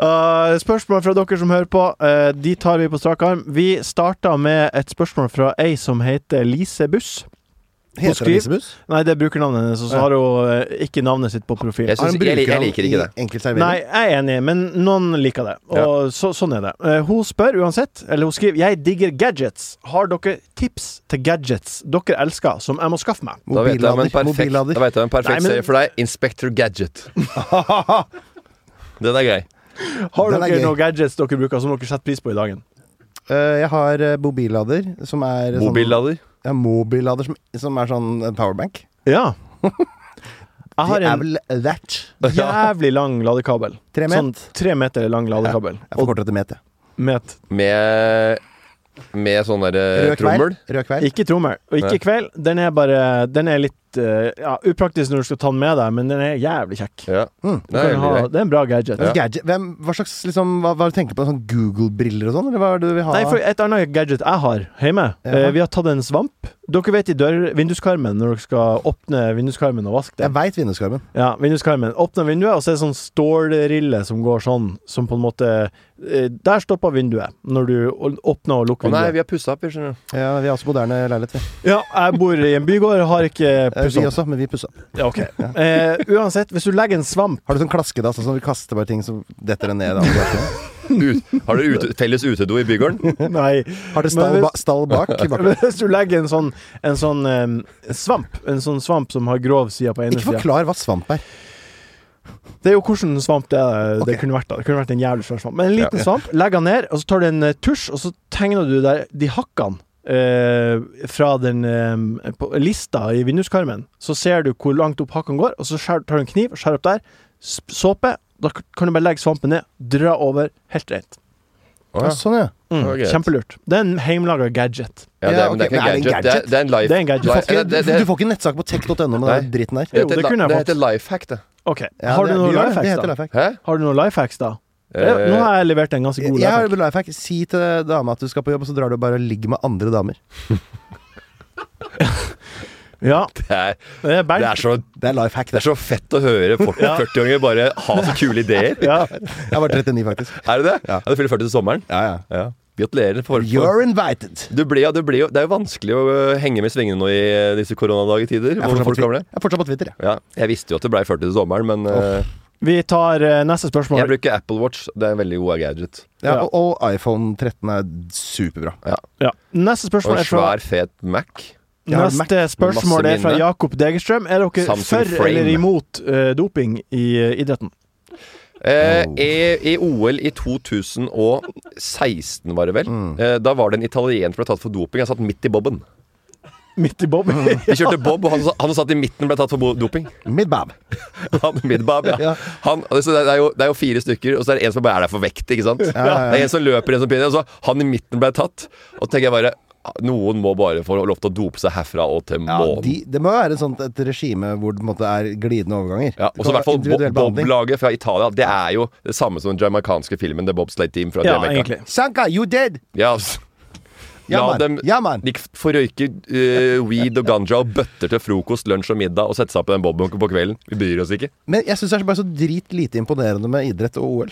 B: Uh, spørsmål fra dere som hører på, eh, de tar vi på strak arm. Vi starta med et spørsmål fra ei som heter Lise Buss. Hun
E: Heter det
B: skriver-
E: Lisebuss?
B: Nei, det er brukernavnet hennes, og så har hun eh, ikke navnet sitt på profil.
C: Jeg, synes, jeg, li- jeg liker ikke det.
B: Nei, jeg er enig, men noen liker det. Og så, sånn er det. Eh, hun spør uansett, eller hun skriver 'Jeg digger gadgets'. Har dere tips til gadgets dere elsker, som jeg må skaffe meg?
C: Da vet jeg om en
E: Mobillader.
C: perfekt,
E: Mobillader.
C: da vet jeg om en perfekt
B: Nei, men-
C: serie for deg. Inspector Gadget. Den er grei.
B: Har
E: Den er
B: dere
E: gøy.
B: noen gadgets dere bruker som dere setter pris på i dagen?
E: Eh, jeg har eh, mobillader, som er sånn-
C: Mobillader.
E: Ja, mobillader som, som er sånn eh, powerbank.
B: Ja. Jeg
E: Det
B: har
E: er
B: en
E: vel that.
B: jævlig lang ladekabel.
E: Tre met?
B: Sånn tre meter lang ladekabel.
E: Jeg forkorter det til met, jeg.
B: Met.
C: Med Med sånn derre
E: Rød kveil.
C: trommel.
E: Rød kveil.
B: Ikke trommel, og ikke
C: Nei.
B: kvel. Den er bare Den er litt eh, ja, upraktisk når du skal ta den med deg, men den er jævlig kjekk.
C: Ja.
B: Du
C: Det er
B: Hmm, kan ha,
C: veldig greit.
B: det er en bra gadget.
E: Men Gadget, hvem, hva slags liksom, hva, hva du tenker på? Sånn Google-briller og sånn? Eller hva er det du vil ha?
B: Nei, for et annet gadget jeg har hjemme
E: Ja.
B: eh, Vi har tatt en svamp. Dere vet i dør, vinduskarmen når dere skal åpne vinduskarmen og vaske
E: Jeg
B: det.
E: veit vinduskarmen.
B: Ja, vinduskarmen. Åpne vinduet, og så er det sånn stålrille som går sånn, som på en måte eh, Der stopper vinduet, når du å- åpner og
C: Å
B: lukker
C: nei,
B: vinduet.
C: vi har pussa opp, vi, skjønner du.
E: Ja, vi har også moderne leiligheter.
B: Ja, jeg bor i en bygård, har ikke
E: Eh, vi
B: pussa opp.
E: også, men vi pusser opp.
B: Ja, ok. Eh, uansett, hvis du legger en svamp
E: Har du sånn klaskedass sånn som vi kaster bare ting som detter det ned? av glassene?
C: Ut, har dere ute, felles utedo i bygården?
B: Nei.
E: Har du
B: Men
E: stall,
B: hvis-
E: ba, stall bak? bak?
B: Men Hvis du legger en sånn, en sånn eh, svamp, en sånn svamp som har grov side på ene
E: Ikke
B: sida
E: forklar hva svamp er.
B: Det er jo hvordan svamp det, er, det
E: Ok.
B: kunne vært. da Det kunne vært en jævlig svær svamp. Men en liten
E: Ja.
B: svamp, legg den ned, og så tar du en eh, tusj, og så tegner du der de hakkene eh, fra den eh, på lista i vinduskarmen. Så ser du hvor langt opp hakkene går, og så skjær, tar du en kniv og skjærer opp der. Sp- Såpe. Da k- kan du bare legge svampen ned, dra over, helt rent.
C: Å, ja.
E: Sånn, ja.
B: Mm,
C: Det var greit.
B: Kjempelurt. Det er en heimelaga gadget.
C: Ja, det,
E: Ja,
C: er- men
E: ok, men er
C: det er ikke en
E: det en
C: gadget. Det er,
E: gadget?
C: det er en life
B: Det er en gadget.
E: Du
C: Nei,
E: får ikke,
C: det- det- det-
E: du får ikke nettsak på tech.no med
C: Nei.
E: den dritten der.
B: Jo,
C: heter
B: det
C: li-
B: kunne jeg
C: det
B: fått.
C: heter life hack, det.
B: Ok,
E: Ja,
B: Har
E: det-
B: du noen
E: ja,
B: life
E: Det
B: hacks,
E: heter
B: da?
E: life hack.
C: Hæ?
B: Har du noen life hacks, da?
C: Eh,
B: Eh, Nå har jeg levert en ganske
E: Jeg
B: god
E: jeg har
B: life hack.
E: jo life hack. Si til dama at du skal på jobb, og så drar du bare og ligger med andre damer.
B: Ja,
C: det, er,
B: det er
C: det,
B: Bernt.
C: er så,
E: Det er life hack,
C: det
E: det.
C: er så fett å høre folk på
B: Ja.
C: 40-åringer bare ha så kule ideer.
B: Ja.
E: Jeg var 39, faktisk.
C: Er det det?
E: Ja.
C: Ja. Du fyller 40 til sommeren.
E: Ja, ja.
C: Ja. Gratulerer. For, for.
E: You're invited.
C: Du blir, jo- du blir, jo- det er jo vanskelig å øh, henge med i svingene nå i øh, disse koronadagetider.
E: Jeg er
C: hvor
E: fortsatt på
C: folk
E: Twitter.
C: kommer det.
E: Jeg er fortsatt på Twitter, jeg.
C: Ja, jeg visste jo at det blei 40 til sommeren, men øh,
B: Vi tar eh, neste spørsmål.
C: jeg bruker Apple Watch. Det er en veldig god gadget.
B: Ja.
E: Ja, og, og iPhone 13 er superbra.
B: Ja. Neste
C: Og
B: spørsmål
C: en
B: er fra
C: svær, fet Mac.
E: Ja, Mac
B: Neste spørsmål
C: masse
B: er fra
C: minne.
B: Jakob Degerstrøm. Er dere
C: Samsung
B: for
C: Frame.
B: eller imot eh, doping i eh, idretten?
C: Eh, i, I OL i 2016, var det vel, eh, da var det en italiener som ble tatt for doping. Han satt midt i boben.
B: Midt i bob?
C: De kjørte bob, og han, sa- han som satt i midten ble tatt for bo- doping.
E: Midbab.
C: Han, midbab, ja.
E: Ja.
C: han, altså, det, er jo, det er jo fire stykker, og så er det en som bare er der for vekt. ikke sant?
E: ja, ja.
C: Det er en som løper, en som pinner, og så han i midten ble tatt. Og så tenker jeg bare noen må bare få lov til å dope seg herfra og til
E: Ja,
C: månen.
E: de, det må jo være et sånt, et regime hvor det på en måte er glidende overganger.
C: Ja, og så i hvert fall
E: Individuell
C: bo-
E: behandling.
C: Bob-laget fra Italia. Det er jo det samme som den jamaicanske filmen The Bobsleigh Team fra
B: Ja,
C: Jamaica.
B: egentlig.
E: Sanka, you dead!
C: Ja, altså.
E: Ja,
C: La
E: man.
C: dem
E: Ja, man.
C: De får røyke eh, weed og ganja og bøtter til frokost, lunsj og middag og sette seg på den bobbunken på kvelden. Vi bryr oss ikke.
E: Men jeg syns det er bare så drit lite imponerende med idrett og OL.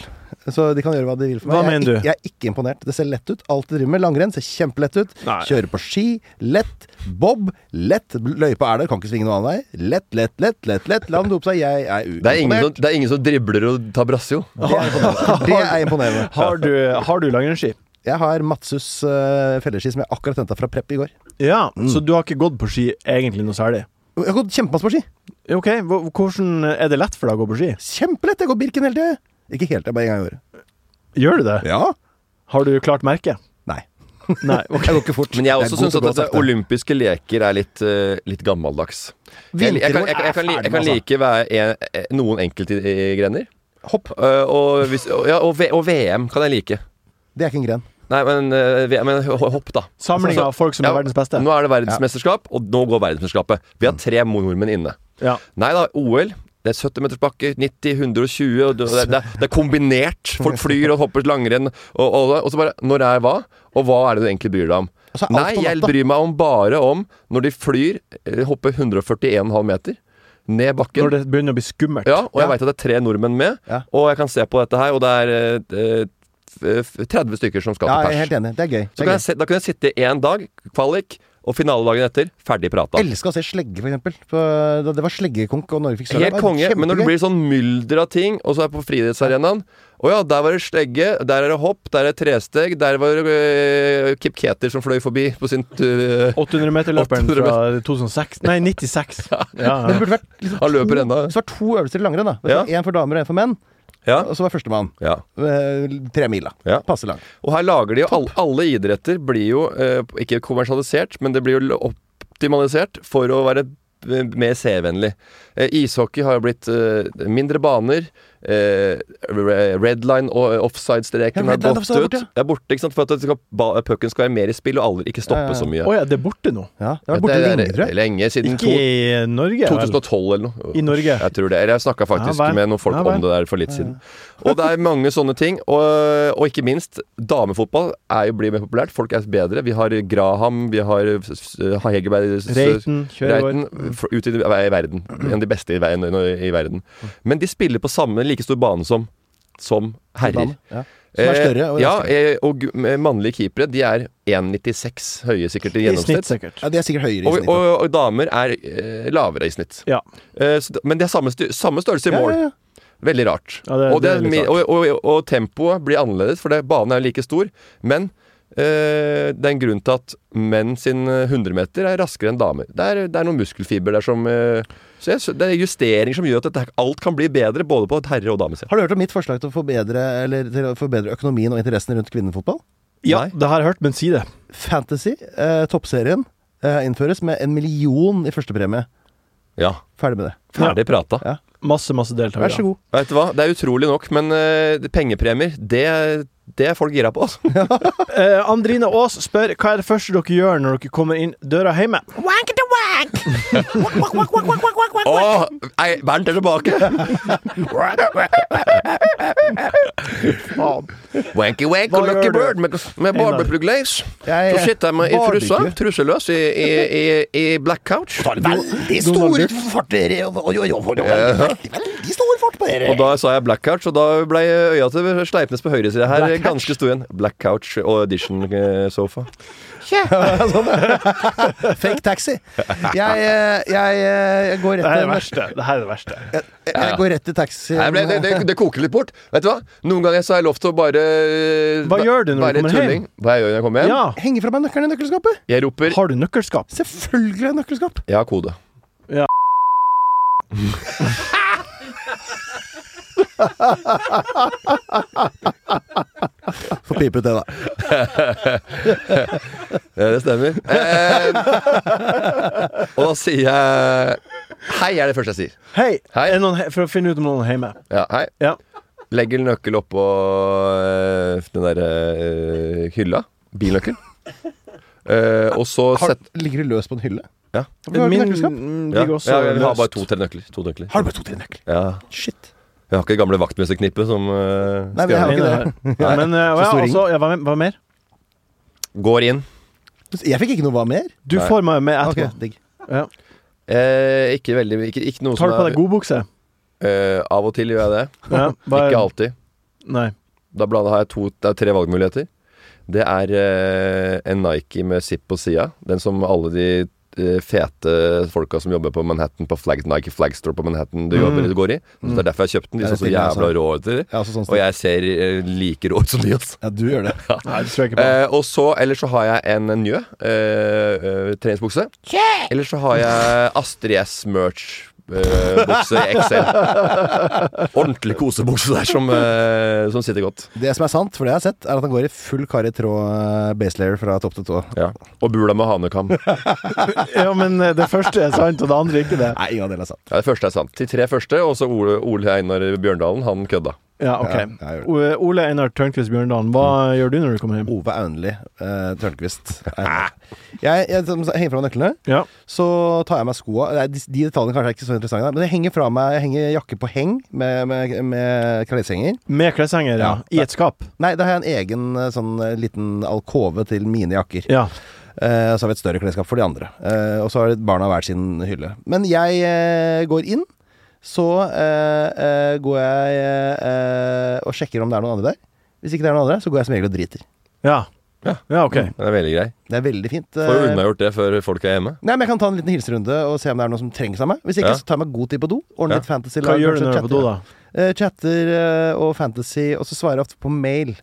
E: Så de kan gjøre hva de vil for meg.
B: Hva
E: jeg, er
B: mener
E: ikke-
B: du?
E: jeg er ikke imponert. Det ser lett ut. Alt de driver med. Langrenn ser kjempelett ut.
B: Nei.
E: Kjøre på ski. Lett. Bob. Lett. Løypa er der, kan ikke svinge noen annen vei. Lett, lett, lett, lett. lett La dem dope seg. Jeg er uimponert.
C: Det er, ingen som, det er ingen som dribler og tar brassio.
E: Det er imponerende. Det er imponerende.
B: Har du, har du langrennsski?
E: Jeg har Matsus uh, felleski som jeg akkurat henta fra prep i går.
B: Ja,
C: Mm.
B: så du har ikke gått på ski egentlig noe særlig?
E: Jeg har gått kjempemasse på ski.
B: Ok, hva- hvordan Er det lett for deg å gå på ski?
E: Kjempelett. Jeg går Birken hele tida. Ikke helt, det er bare en gang i året.
B: Gjør du det?
E: Ja?
B: Har du klart merket?
E: Nei.
B: Nei.
C: Altså,
B: ok.
E: Jeg går ikke fort.
C: Men jeg
E: er
C: også
E: god
C: syns
E: til å
C: at
E: gå
C: dette
E: sakte.
C: olympiske leker er litt, eh, litt gammeldags. Jeg, jeg, kan, jeg, kan- jeg, kan, li- jeg kan like hver en, eh, noen enkeltgrener.
E: Hopp.
C: Eh, og, hvis, og- ja, og, v, og VM kan jeg like.
E: altså. Det er ikke en gren.
C: Nei, men, eh, V- men ho- hopp, da.
B: Samling av folk som er verdens beste.
C: Nå er det verdensmesterskap, og nå går verdensmesterskapet. Vi har tre nordmenn inne.
B: Ja.
C: Nei da, OL. Det er 70 meters bakke, 90, 120 og det, det, det er kombinert. Folk flyr og hopper langrenn. Og, og, og så bare Når er hva? Og hva er det du egentlig bryr deg om?
E: Altså, alt
C: Nei,
E: på
C: jeg
E: natta.
C: bryr meg om bare om når de flyr, eh, hopper 141,5 meter ned bakken.
B: Når det begynner å bli skummelt.
C: Ja, og jeg
E: Ja.
C: veit at det er tre nordmenn med,
E: Ja.
C: og jeg kan se på dette her, og det er eh, eh, f- 30 stykker som skal
E: Ja, jeg er
C: til pers.
E: helt enig. Det er gøy.
C: Så
E: Det
C: kan
E: er
C: jeg,
E: gøy.
C: se- da kunne jeg sitte én dag, kvalik, og finaledagen etter, ferdig prata.
E: Elska å se slegge, for eksempel. På, da det var sleggekonk, og Norge fikk sølv. Det
C: Helt
E: var
C: konge, men når det
E: kjempegøy.
C: blir sånn mylder av ting, og så er jeg på friidrettsarenaen Å ja, der var det slegge, der er det hopp, der er det tresteg, der var det øh, Kip Keter som fløy forbi på sin øh,
B: 800-meterløperen
C: 800
B: fra 2006 Nei, 96.
E: Men det
B: Ja.
E: burde vært liksom
C: Han løper ennå.
E: Så var det to øvelser i langrenn. da
C: Ja.
E: Én for damer og én for menn.
C: Ja,
E: Og så var førstemann.
C: ja.
E: Eh, Tre mila.
C: Ja.
E: Passe lang.
C: Og her lager de jo alle, alle idretter blir jo øh, ikke kommersialisert, men det blir jo optimalisert for å være øh, mer seervennlig. Eh, ishockey har jo blitt øh, mindre baner. eh, re- red line og eh,
E: Ja,
C: offside-streken har
E: red line
C: gått
E: offside er
C: ut.
E: borte, ja.
C: Det er borte, ikke sant? For at det skal, ba- pucken skal være mer i spill og aldri ikke stoppe
E: Ja, ja, ja.
C: så mye.
B: Å ja, det er borte nå?
E: Ja, det var borte
C: Det er-
E: lenge, tror jeg.
C: Lenge, siden
B: Ikke
C: to,
B: i Norge? vel?
C: 2012 eller noe.
B: I Norge?
C: Jeg tror det. Eller jeg snakka faktisk
B: Ja, vel.
C: med noen folk
B: Ja, vel.
C: om det der for litt siden. Og det er mange sånne ting. Og, og ikke minst, damefotball er jo, blir mer populært. Folk er bedre. Vi har Graham, vi har eh, Hegerberg s-
B: Reiten kjører vår.
E: Mm.
C: Reiten for- ute i i verden. En av de beste i, veien, i verden.
E: Mm.
C: Men de spiller på samme like stor bane som, som herrer.
E: Ja. Som er større.
C: Eh,
E: Og
C: ja,
E: raskere.
C: eh, og gu- mannlige keepere de er 1,96 høye sikkert i
B: I snitt,
C: gjennomsnitt.
B: sikkert.
E: ja, de er sikkert høyere i
C: Og,
E: snitt.
C: og, og damer er eh, lavere i snitt.
B: Ja.
C: Eh, så, det- men det er samme, styr, samme størrelse i
E: Ja,
C: mål.
E: ja, ja.
C: Veldig rart.
B: Ja, det-
C: og, det
B: det er
C: er
B: litt
C: mi-
B: rart.
C: og, og, og tempoet blir annerledes, for det, banen er jo like stor. Men eh, det er en grunn til at menn sin eh, 100 meter er raskere enn damer. Det er, det er noen muskelfiber der som eh, Så jeg, sy- det er justeringer som gjør at dette, her- alt kan bli bedre, både på et herre- og damesida.
E: Har du hørt om mitt forslag til å forbedre, eller, til å forbedre økonomien og interessen rundt kvinnefotball?
B: Ja,
C: Nei.
B: det har jeg hørt, men si det.
E: Fantasy, eh, toppserien, eh, innføres med en million i førstepremie.
C: Ja.
E: Ferdig med det.
C: Ferdig prata.
E: Ja.
B: Masse, masse deltakere.
E: Vær så god.
C: Vet du hva, det er utrolig nok, men eh, pengepremier, det, det er folk gira på, altså.
B: Eh, Andrine Aas spør hva er det første dere gjør når dere kommer inn døra hjemme.
C: Å! Nei, Bernt er tilbake!
B: Faen.
C: Wanky wank
B: Hva
C: og Lucky
B: gjør du?
C: Bird med, med barbecue glaze.
E: Jeg-
C: Så sitter jeg med i
E: Barbecue?
C: trusa, truseløs, i, i, i, i black couch.
E: Veldig stor fart Veldig stor fart på dere.
C: Og da sa jeg black couch, og da ble øya til Sleipnes på høyre side her ganske stor igjen. Black couch og audition eh, sofa.
E: sånn, Fake taxi. Jeg, eh, jeg, eh, jeg går
B: Det her er det
E: rett til
B: verste. Det her er det verste.
E: jeg, jeg går rett til taxi.
C: Nei, men det, det, det koker litt bort. Vet du hva? Noen ganger så har jeg lov til å bare
B: Hva gjør du når du
C: være
B: kommer
C: tulling.
B: hjem?
C: Hva jeg gjør når jeg kommer hjem?
B: Ja.
E: Henger fra meg nøkkelen i nøkkelskapet.
C: Jeg roper
B: Har du nøkkelskap?
E: Selvfølgelig har jeg nøkkelskap.
C: Jeg har kode.
B: Ja.
E: Få pipe ut det, da.
C: Ja, det stemmer. Eh, og da sier jeg Hei, er det første jeg sier.
B: Hei!
C: Hei.
B: Er det noen, he- for å finne ut om noen er hjemme.
C: Ja, hei.
B: Ja.
C: Legger nøkkel oppå eh, den derre eh, hylla. Bilnøkkel. Eh, og så
E: Har,
C: setter
E: ligger du løs på en hylle?
C: Ja.
E: Har du
B: Min
E: nøkkelskap?
B: mm,
C: ja,
B: ligger også
C: ja, vi har bare
B: løst.
C: to-tre nøkler. To nøkler.
E: Har du bare to-tre nøkler?
C: Ja.
E: Shit.
C: Vi har ikke det gamle vaktmesterknippet som eh,
E: Nei, vi
C: stjeler.
E: har
B: Min
E: ikke
B: er
E: det.
B: her. Ja, men eh,
E: Så
B: ja,
E: stor ring.
B: altså, ja, hva, hva mer?
C: Går inn.
E: Jeg fikk ikke noe hva mer.
B: Du
C: Nei.
B: får meg med etterpå.
E: Ok, digg.
B: Ja.
C: Eh, ikke veldig ikke, ikke noe
B: Tar du
C: som
B: på
C: er
B: deg godbukse?
C: eh, Av og til gjør jeg det.
B: Ja, hva-
C: Ikke alltid.
B: Nei.
C: Da bladet har jeg to, det er tre valgmuligheter. Det er eh, en Nike med zipp på sida. Den som alle de eh, fete folka som jobber på Manhattan, på flag, Nike Flagstore på Manhattan, du jobber, du går i. Så Det er derfor jeg kjøpte den. De
E: Ja, Mm. det
C: så så
E: finner jeg
C: jævla
E: også.
C: rå ut. i det.
E: Ja, altså sånn
C: Og jeg ser eh, like rå ut som de, altså.
E: Ja, du gjør det.
B: Nei, det tror jeg ikke på.
C: Eh, og så, Eller så har jeg en Njø eh, eh, treningsbukse. Eller så har jeg Astrid S merch. eh, bukse i XL. Ordentlig kosebukse der som, eh, som sitter godt.
E: Det som er sant, for det jeg har sett, er at han går i full kar i tråd baselayer fra topp til tå.
C: Ja. Og bula med hanekam.
B: Ja, men eh, det første er sant, og det andre er ikke det.
E: Nei, ingen av delene er sant.
C: Ja, det første er sant. De tre første, og så Ole, Ole Einar Bjørndalen. Han kødda.
B: Ja,
E: Ja,
B: ok.
E: jeg gjør det.
B: O- Ole Einar Tørnquist Bjørndalen,
C: Mm.
B: hva gjør du når du kommer hjem?
E: Ove Aunli uh, Tørnquist. Einar. Jeg, jeg som sagt, henger fra meg nøklene,
B: Ja.
E: så tar jeg av meg skoa. Nei, De, de detaljene kanskje er ikke så interessante, men jeg henger fra meg Jeg henger jakke på heng med, med, med kleshenger.
B: Med kleshenger, ja. I
E: Ja.
B: et skap.
E: Nei, da har jeg en egen eh, sånn eh, liten alkove til mine jakker.
B: Ja.
E: Eh, og så har vi et større klesskap for de andre. Eh, og så har barna hver sin hylle. Men jeg eh, går inn. Så eh, eh, går jeg eh, og sjekker om det er noen andre der. Hvis ikke det er noen andre, så går jeg som regel og driter.
B: Ja.
C: Ja. Mm.
B: Ja, ok.
C: Den er veldig grei.
E: Det er veldig fint. eh,
C: Får jo unnagjort det før folk er hjemme.
E: Nei, men Jeg kan ta en liten hilserunde og se om det er noe som trengs av meg. Hvis ikke,
C: Ja.
E: så tar jeg meg god tid på do. Ordner
C: Ja.
E: litt fantasy.
B: Hva
E: lag,
B: gjør du
E: kanskje
B: når du er på do, da?
E: chatter, eh, chatter eh, og fantasy, og så svarer jeg ofte på mail.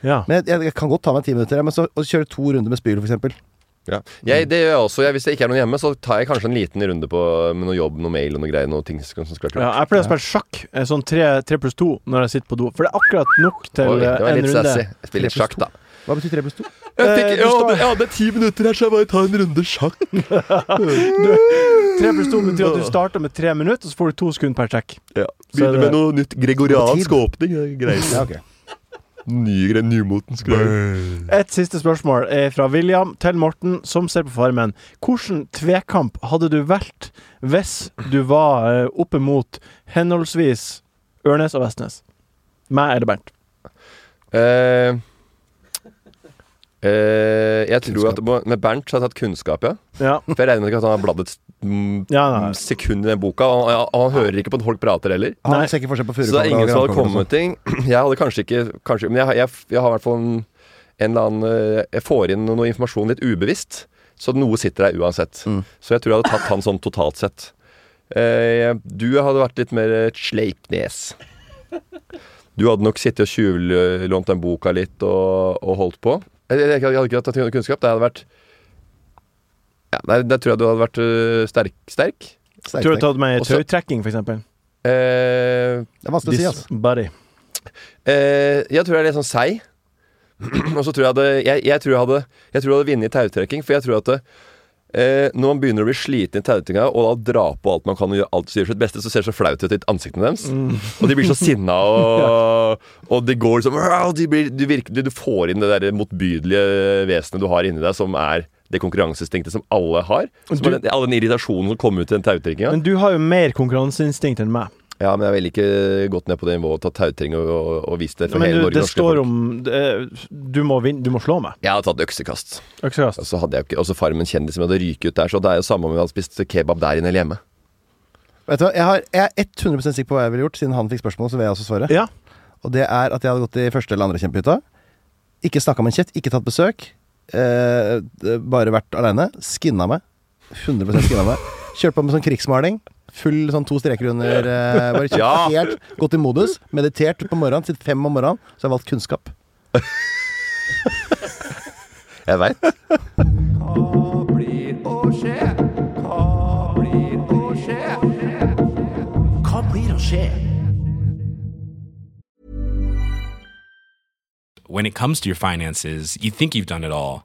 B: Ja.
E: Men jeg, jeg kan godt ta meg ti minutter, ja, men så og kjøre to runder med spyl, f.eks.
C: Ja. Jeg, det gjør jeg også. Jeg, hvis det ikke er noen hjemme, så tar jeg kanskje en liten runde på, med noe jobb, noe mail og noe greier. Noe ting som som
B: Ja,
C: skal klart.
B: jeg pleier å spille sjakk, eh, sånn tre, tre pluss to, når jeg sitter på do. For det er akkurat nok
C: Oi,
B: til eh,
C: det var
B: en
C: litt
B: runde. Eh,
C: sassy. Spill litt sjakk, da.
E: Hva betyr tre pluss to?
C: Jeg,
B: fikk- jeg hadde- jeg
C: ti minutter her, så jeg bare tar en runde sjakk.
B: Tre pluss to betyr at du starter med tre minutter, og så får du to sekunder per trekk. Begynner med
C: noe nytt
E: gregoriansk
C: åpning. Greit.
E: Ja, ok.
C: nymotens greier.
B: Et siste spørsmål er fra William til Morten, som ser på Farmen. Hvilken tvekamp hadde du valgt hvis du var eh, oppe mot henholdsvis Ørnes og Vestnes? Meg eller Bernt?
C: Eh, eh, jeg tror at Med Bernt så har jeg tatt kunnskap, ja.
B: Ja.
C: For jeg regner med ikke at han har bladd et mm,
B: ja nei.
C: sekund i den boka. Og han, og han hører ikke på at folk prater heller.
E: Han
B: Nei.
E: ser ikke forskjell på
C: Så
E: furukål
C: det er
E: og
C: ingen som hadde
E: grankål og sånn. sånt.
C: kommet ting. Jeg hadde kanskje ikke kanskje, Men jeg, jeg, jeg har i hvert fall en, en eller annen eh, Jeg får inn noe informasjon litt ubevisst, så noe sitter der uansett.
E: Mm.
C: Så jeg tror jeg hadde tatt han sånn totalt sett. Eh, du hadde vært litt mer eh, sleipnes. Du hadde nok sittet og tjuvlånt den boka litt og, og holdt på. Jeg, jeg, jeg hadde ikke tatt kunnskap. Det hadde vært ja, nei, Der tror jeg du hadde vært eh, sterk. sterk.
E: Sterk,
B: Du har
E: sterk.
B: tatt med
C: Også-
B: tautrekking, for eksempel.
C: Eh,
E: Det er vanskelig å si, altså.
B: Buddy.
C: Eh, jeg tror jeg er litt sånn seig. og så tror jeg hadde Jeg, jeg tror jeg hadde Jeg tror jeg hadde vunnet i tautrekking, for jeg tror at det, eh, når man begynner å bli sliten i tautrekkinga og da dra på alt man kan og gjøre alt som gjør sitt beste, så ser det så flaut ut i ansiktene deres.
B: Mm.
C: Og de blir så sinna, og, og de går liksom «Wow!» de blir, du, virker, du, du får inn det der motbydelige vesenet du har inni deg, som er det konkurranseinstinktet som alle har. Som
B: Du-
C: er den, all den irritasjonen som kommer ut i den tautrekkinga.
B: Men du har jo mer konkurranseinstinkt enn meg.
C: Ja, men jeg ville ikke gått ned på det nivået og tatt tautrekking og, og, og vist det for
B: Men
C: hele
B: du,
C: Norge.
B: det
C: norske folk.
B: står om eh, Du må vinne, du må slå meg.
C: Jeg hadde tatt øksekast.
B: Øksekast.
C: Og så hadde jeg jo ikke, og så faren min kjendis som hadde ryket ut der, så det er jo samme om vi hadde spist kebab der inne eller hjemme.
E: Vet du hva, jeg, har, jeg er 100 sikker på hva jeg ville gjort, siden han fikk spørsmål, så vil jeg også svare.
B: Ja.
E: Og det er at jeg hadde gått i første eller andre kjempehytta. Ikke snakka med en kjeft, ikke tatt besøk. Eh, d- bare vært aleine. Skinna meg. 100 skinna meg. Kjørt på med sånn krigsmaling. Full sånn to streker under. Eh, bare kjørt
C: Ja.
E: helt, gått i modus. Meditert på morgenen. Sitt fem om morgenen. Så jeg har valgt kunnskap.
C: Jeg veit.
D: Hva blir å skje? Hva blir å skje? Hva blir å skje?
G: When it comes to your finances, you think you've done it all.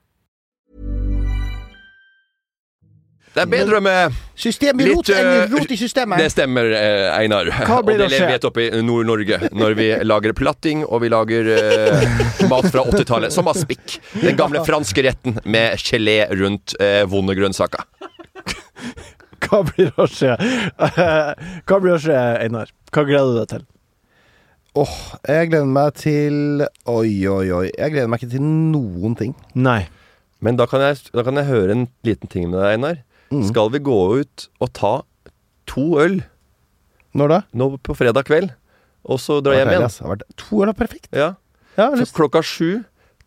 C: Det er bedre med
E: Systemet
C: Litt,
E: rot enn
C: eh,
E: rot i systemet!
C: Det stemmer, eh, Einar.
B: Hva blir
C: og det
B: det å skje?
C: vet oppe i Nord-Norge når vi lager platting og vi lager eh, mat fra 80-tallet. Som aspik. Den gamle franske retten med gelé rundt eh, vonde grønnsaker.
B: Hva blir å skje? Hva blir å skje, Einar? Hva gleder du deg til?
E: Åh, jeg gleder meg til Oi, oi, oi. Jeg gleder meg ikke til noen ting.
B: Nei.
C: Men da kan, jeg, da kan jeg høre en liten ting med deg, Einar. Skal vi gå ut og ta to øl
E: Når da?
C: nå på fredag kveld, og så
E: Det
C: dra
E: har
C: hjem
E: vært deilig,
C: igjen?
E: ass. Det har vært to år, da. Perfekt. Ja,
C: Ja
E: jeg har
C: Fra
E: lyst.
C: klokka sju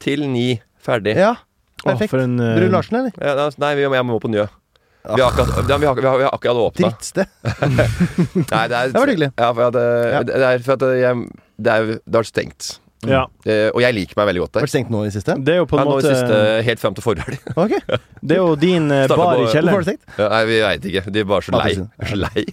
C: til ni ferdig.
E: Ja,
B: Å,
E: perfekt.
B: for en eh,
E: Brun Larsen, eller?
C: Ja, da- nei, vi, jeg må på Njø. Vi har akkurat, ja, vi har, vi har, vi har akkurat åpna.
E: Drittsted.
C: Nei, det, er,
E: Det var hyggelig.
C: Ja, for at, eh,
E: Ja.
C: Det er for at eh, jeg, det er, det har vært stengt.
B: Ja.
C: Eh, og jeg liker meg veldig godt
E: Har
C: der.
E: vært stengt nå i det siste?
B: Det er jo på
C: Ja,
B: en
C: nå i
B: måte
C: siste, helt frem til forhelg.
E: Ok.
B: Det er jo din eh,
C: Startet
B: bar i
C: på-
E: Hvorfor har
B: kjelleren.
E: du stengt?
C: Ja, nei, vi veit ikke. De er bare så lei.
E: Mattilsynet.
C: Så lei.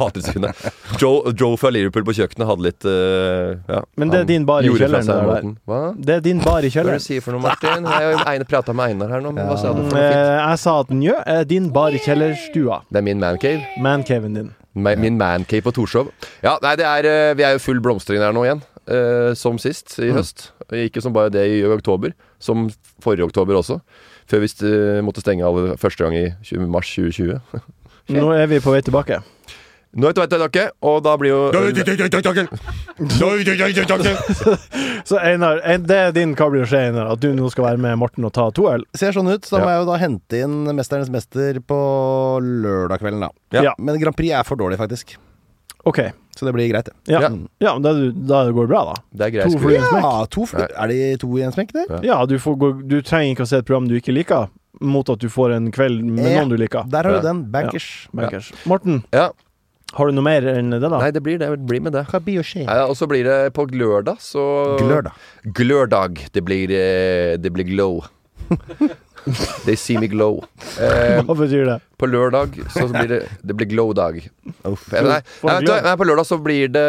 C: Mattilsynet. Joe, Joe fra Liverpool på kjøkkenet hadde litt eh, ja,
B: Men det er
C: han
B: din bar i
C: gjorde fra
B: kjelleren
C: seg
B: der,
C: måten. Hva?
B: Det er din bar i
C: Hva er det
B: kjelleren.
C: du sier for noe, Martin? Jeg har jo prata med Einar her nå, men hva sa du for noe fint?
B: Eh, jeg sa at Njø er din bar i kjellerstua.
C: Det er min mancave.
B: Mancaven din.
C: Ma- Min mancave på Torshov. Ja, nei, det er, eh, vi er jo full blomstring der nå igjen. eh, som sist,
B: Mm.
C: i høst. Ikke som bare det i oktober, som forrige oktober også. Før vi eh, måtte stenge av første gang i 20, mars 2020.
B: Nå er vi på vei tilbake.
C: Nå er det tilbake, og da blir jo
B: Så Einar, eh, det er din hva blir å skje, Einar? At du nå skal være med Morten og ta to øl?
E: Ser sånn ut. Så da
C: Ja.
E: må jeg jo da hente inn Mesternes mester på lørdag kvelden, da.
C: Ja.
B: Ja.
E: Men Grand Prix er for dårlig, faktisk.
B: OK.
E: Så det blir greit, det.
B: Ja,
C: Ja.
B: ja men da, du- da går det bra, da.
C: Det er greit.
B: To
C: skole.
B: fly i en smekk.
E: Ja, to fl- Er de to i en smekk, der?
B: Ja, du, får gå, du trenger ikke å se et program du ikke liker, mot at du får en kveld med
E: Ja.
B: noen du liker.
E: Der har
C: Ja.
E: du den. Bankers.
B: Bankers. Morten,
C: Ja.
B: har du noe mer enn det, da?
C: Nei, det blir det. Det blir med det.
E: Hva blir å skje?
C: Nei, Og så blir det på glørdag, så
E: Glør, da.
C: Glørdag. Det blir, eh, det blir glow. They see me glow. Eh,
B: Hva betyr det?
C: På lørdag så blir det, det blir glow-dag. Nei, nei,
B: for
C: vet du hva,
B: glød.
C: nei, på lørdag så blir det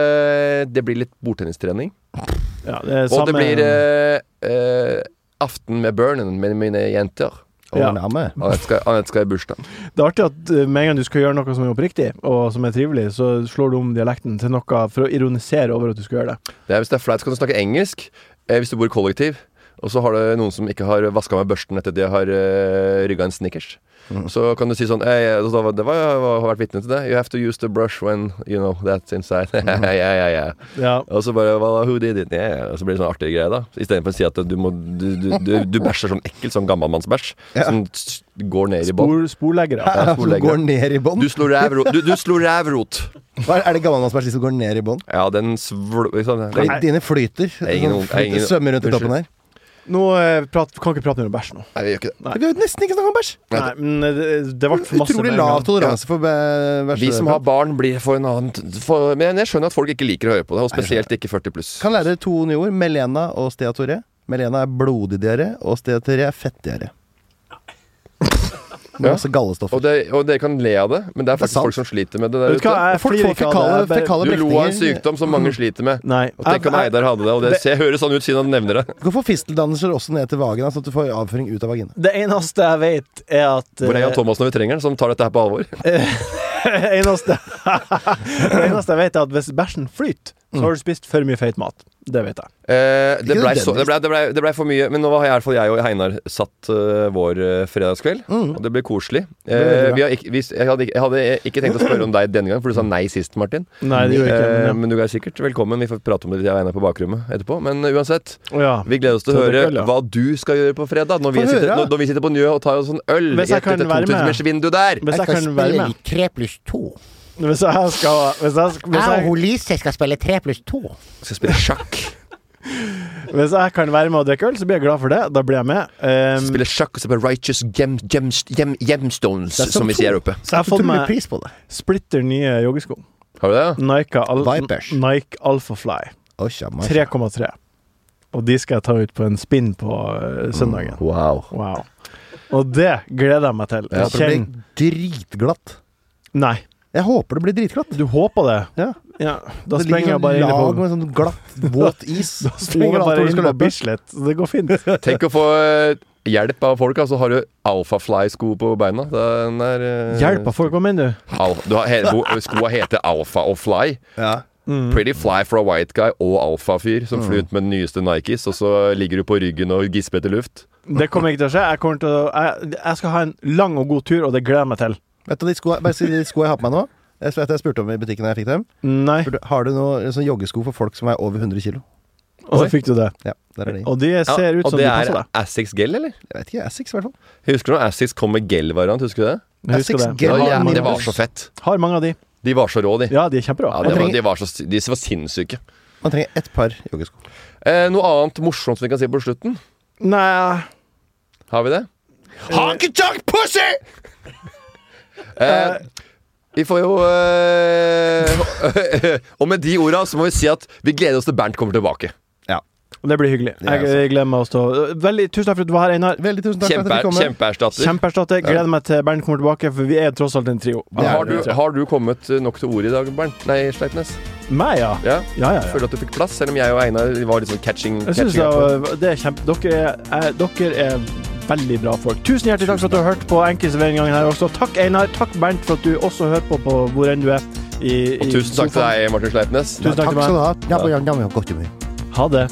C: Det blir litt bordtennistrening.
B: Ja, det er
C: Og
B: samme
C: det blir eh, eh, aften med Burnen med mine jenter.
B: Ja.
E: Åh, nærme.
C: Anette skal, Anette skal i bursdag.
B: Det er artig at eh, med en gang du skal gjøre noe som er oppriktig, og som er trivelig, så slår du om dialekten til noe for å ironisere over at du skal gjøre det.
C: Det er, hvis det er flaut, så kan du snakke engelsk eh, hvis du bor i kollektiv. Og så har du noen som ikke har vaska med børsten etter de har uh, rygga en Snickers.
B: Mm.
C: Så kan du si sånn hey, eh, da var- Det var jeg har vært vitne til det. You have to use the brush when you know that's inside. ja, ja, ja.
B: Ja.
C: Og så bare well, Who did it? Yeah. yeah. Og så blir det sånn artig greie, da. Istedenfor å si at du, må, du, du, du, du bæsjer sånn ekkel sånn gammalmannsbæsj. Som s- går ned i bånn.
B: Spor, sporleggere.
C: Ja,
E: Som
C: sporleggere.
E: går ned i bånn?
C: Du slo rævrot. Du, du slo rævrot.
E: Hva Er er det gammelmannsbæsj som går ned i bånn?
C: Ja, den svl... Sånn,
E: Fordi
C: nei,
E: Dine flyter.
C: er ingen-
E: Sånn
C: det er ingen-
E: flyter, Svømmer rundt i
C: Unnskyld.
E: toppen her.
B: Nå eh, prat, kan ikke prate mer om bæsj nå.
C: vi gjør ikke det.
B: Nei.
E: Vi har jo nesten ikke snakket om bæsj!
B: Nei, men det, det ble for masse
E: Utrolig
B: med en
E: lav
B: gang.
E: toleranse for bæ- bæsj.
C: Vi som har barn, blir for en annen t- for, Men jeg skjønner at folk ikke liker å høre på det, og spesielt ikke 40 pluss.
E: Kan lære to nye ord. Melena og steatoré. Melena er blodig diaré, og steatoré er fettdiaré. Masse
C: Og,
E: gallestoffer.
C: det, og dere kan le av det, men
E: Det
C: det er
E: er
C: faktisk
E: sant.
C: folk som sliter med det der
B: Vet du hva,
C: ute.
B: jeg
E: Folk
B: flirer
E: får
B: ikke av det.
E: fekale,
B: Jeg bare-
E: fekale
C: Du lo av en
E: brekninger.
C: sykdom som mange sliter med.
B: Nei.
C: Og tenk om
B: Jeg-
C: Eidar hadde det, og det ser, høres sånn ut siden han nevner det.
E: Du kan få fisteldannelser også ned til vagina, sånn at du får avføring ut av vagina.
B: Det eneste jeg vet, er at
C: Hvor er Jan
B: eh,
C: Thomas når vi trenger han, som tar dette her på alvor?
B: eneste, Det eneste jeg vet, er at hvis bæsjen flyter, så har du spist for mye feit mat. Det vet jeg.
C: Eh, det blei
E: nødvendigvis.
C: så- det blei ble, ble for mye, men nå har jeg, i hvert fall jeg og Heinar satt eh, vår eh, fredagskveld. Og det ble koselig. Eh,
E: Mm. veldig bra.
C: vi har ikke, vi, jeg, hadde, ikke- jeg hadde ikke tenkt å spørre om deg denne gang, for du sa nei sist, Martin.
B: Nei, det gjorde jeg
C: Eh,
B: ikke.
C: men du er sikkert velkommen. Vi får prate om det jeg og Einar på bakrommet etterpå. Men eh, uansett,
B: Men, ja.
C: vi gleder oss til å
B: Så det er
C: høre
B: kveld, ja.
C: hva du skal gjøre på fredag. Når vi,
E: Få
C: sitter,
E: høre.
C: når, når vi sitter på Njø og tar oss en øl
B: Hvis
C: i
B: jeg
C: et-
B: kan
C: etter
B: være med.
C: 2000-metersvindu der.
B: Hvis jeg kan være med
E: tre pluss to.
B: Hvis jeg skal Hvis jeg, hvis jeg,
E: Lise skal spille tre pluss to.
C: Skal spille sjakk.
B: hvis jeg kan være med og drikke øl, så blir jeg glad for det. Da blir jeg med. Um,
C: Spille sjakk og se på Righteous gem, gem, gem, Gemstones,
E: Det er
C: som vi
E: som
C: sier her oppe.
B: så jeg har fått
E: Utrolig
B: meg
E: pris på det.
B: splitter nye joggesko.
C: Har du det? ja?
B: Nike, al
E: Vipers.
B: Nike Alpha Fly.
E: Å, sjaman.
B: 3,3. Og de skal jeg ta ut på en spinn på eh, søndagen.
E: Mm,
C: Wow.
B: Wow. Og det gleder jeg meg til.
E: Jeg håper det
B: Kjenn
E: blir dritglatt.
B: Nei,
E: Jeg håper det blir dritglatt.
B: du håper det?
E: Ja.
B: Ja, Da
E: det ligger
B: sprenger jeg
E: sånn
B: bare inn i på
E: lag med sånn glatt, våt is
B: Da sprenger jeg
E: overalt
B: bare
E: hvor du
B: inn
E: skal
B: på
E: løpe.
B: Bislett. Så det går fint.
C: Tenk å få eh, hjelp av folk, altså. Har du alfafly-sko på beina? Den er eh,
B: Hjelp av folk, hva mener du?
C: al du har he bo- eh, Skoa heter Alfa og Fly.
E: Ja.
B: Mm.
C: Pretty fly for a white guy og alfafyr som flyr ut med den nyeste Nikes, og så ligger du på ryggen og gisper etter luft.
B: Det kommer ikke til å skje. Jeg, kommer til å, jeg, jeg skal ha en lang og god tur, og det gleder jeg meg til.
E: Vet du de skoene, bare si de skoene jeg har på meg nå? Jeg, vet, jeg spurte om i butikken da jeg fikk dem.
B: Nei.
E: Spurte, Har du noen sånn joggesko for folk som er over 100 kilo?
B: Og så fikk du det.
E: Ja, der er de.
B: Og de
C: Ja,
B: ser ut
C: og
B: som
C: det
B: de
C: er
B: passer deg.
C: Asics Gel, eller?
E: Jeg vet ikke, Essex i hvert fall.
C: Husker du når Asics kom med gel-variant? Husker du det?
B: Jeg husker
E: Essex
B: det.
C: Det
E: Gel
C: var,
E: Ja,
C: jævlig- det var
E: minus.
C: så fett.
B: Har mange av de.
C: De var så rå, de.
B: Ja, de er kjempebra.
C: Ja, det var,
E: trenger-
C: de, var så, de var sinnssyke.
E: Man trenger ett par joggesko.
C: Eh, noe annet morsomt som vi kan si på slutten?
B: Nei
C: Har vi det? Honky-tonk pussy! eh, vi får jo eh, Og med de orda så må vi si at vi gleder oss til Bernt kommer tilbake.
E: Ja.
B: Det blir hyggelig.
E: Ja,
B: Jeg, jeg gleder meg å stå Veldig Tusen takk for at du var her, Einar.
E: Veldig tusen takk for at
C: Kjempe,
E: dere kom.
C: Kjempeerstatter.
B: Kjempeerstatter. Gleder meg til Bernt kommer tilbake, for vi er tross alt en trio.
C: Men Ah, har,
B: Vi
C: du,
B: er tre.
C: har du kommet eh, nok til ordet i dag, Bernt? Nei, Sleipnes?
B: Meg, ja.
C: Ja?
B: Ja, ja, ja.
C: Føler du at du fikk plass, selv om jeg og Einar var litt sånn catching?
B: Jeg synes
C: catching up.
B: det, det er kjempe... Dere er, er, dere er veldig bra folk. Tusen hjertelig takk for at du har hørt på Enkeltserveringen her også. Takk, Einar. Takk, Bernt, for at du også hører på, på hvor enn du er. I,
C: Og tusen takk til deg, Martin Sleipnes.
B: Tusen takk
E: Takk
B: til meg.
E: skal du ha. Ja, men- ja, men godt humør.
B: deg. Ha det.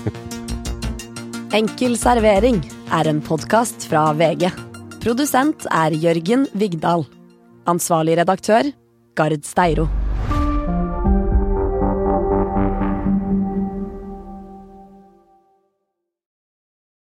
A: Enkel servering er en podkast fra VG. Produsent er Jørgen Vigdal. Ansvarlig redaktør, Gard Steiro.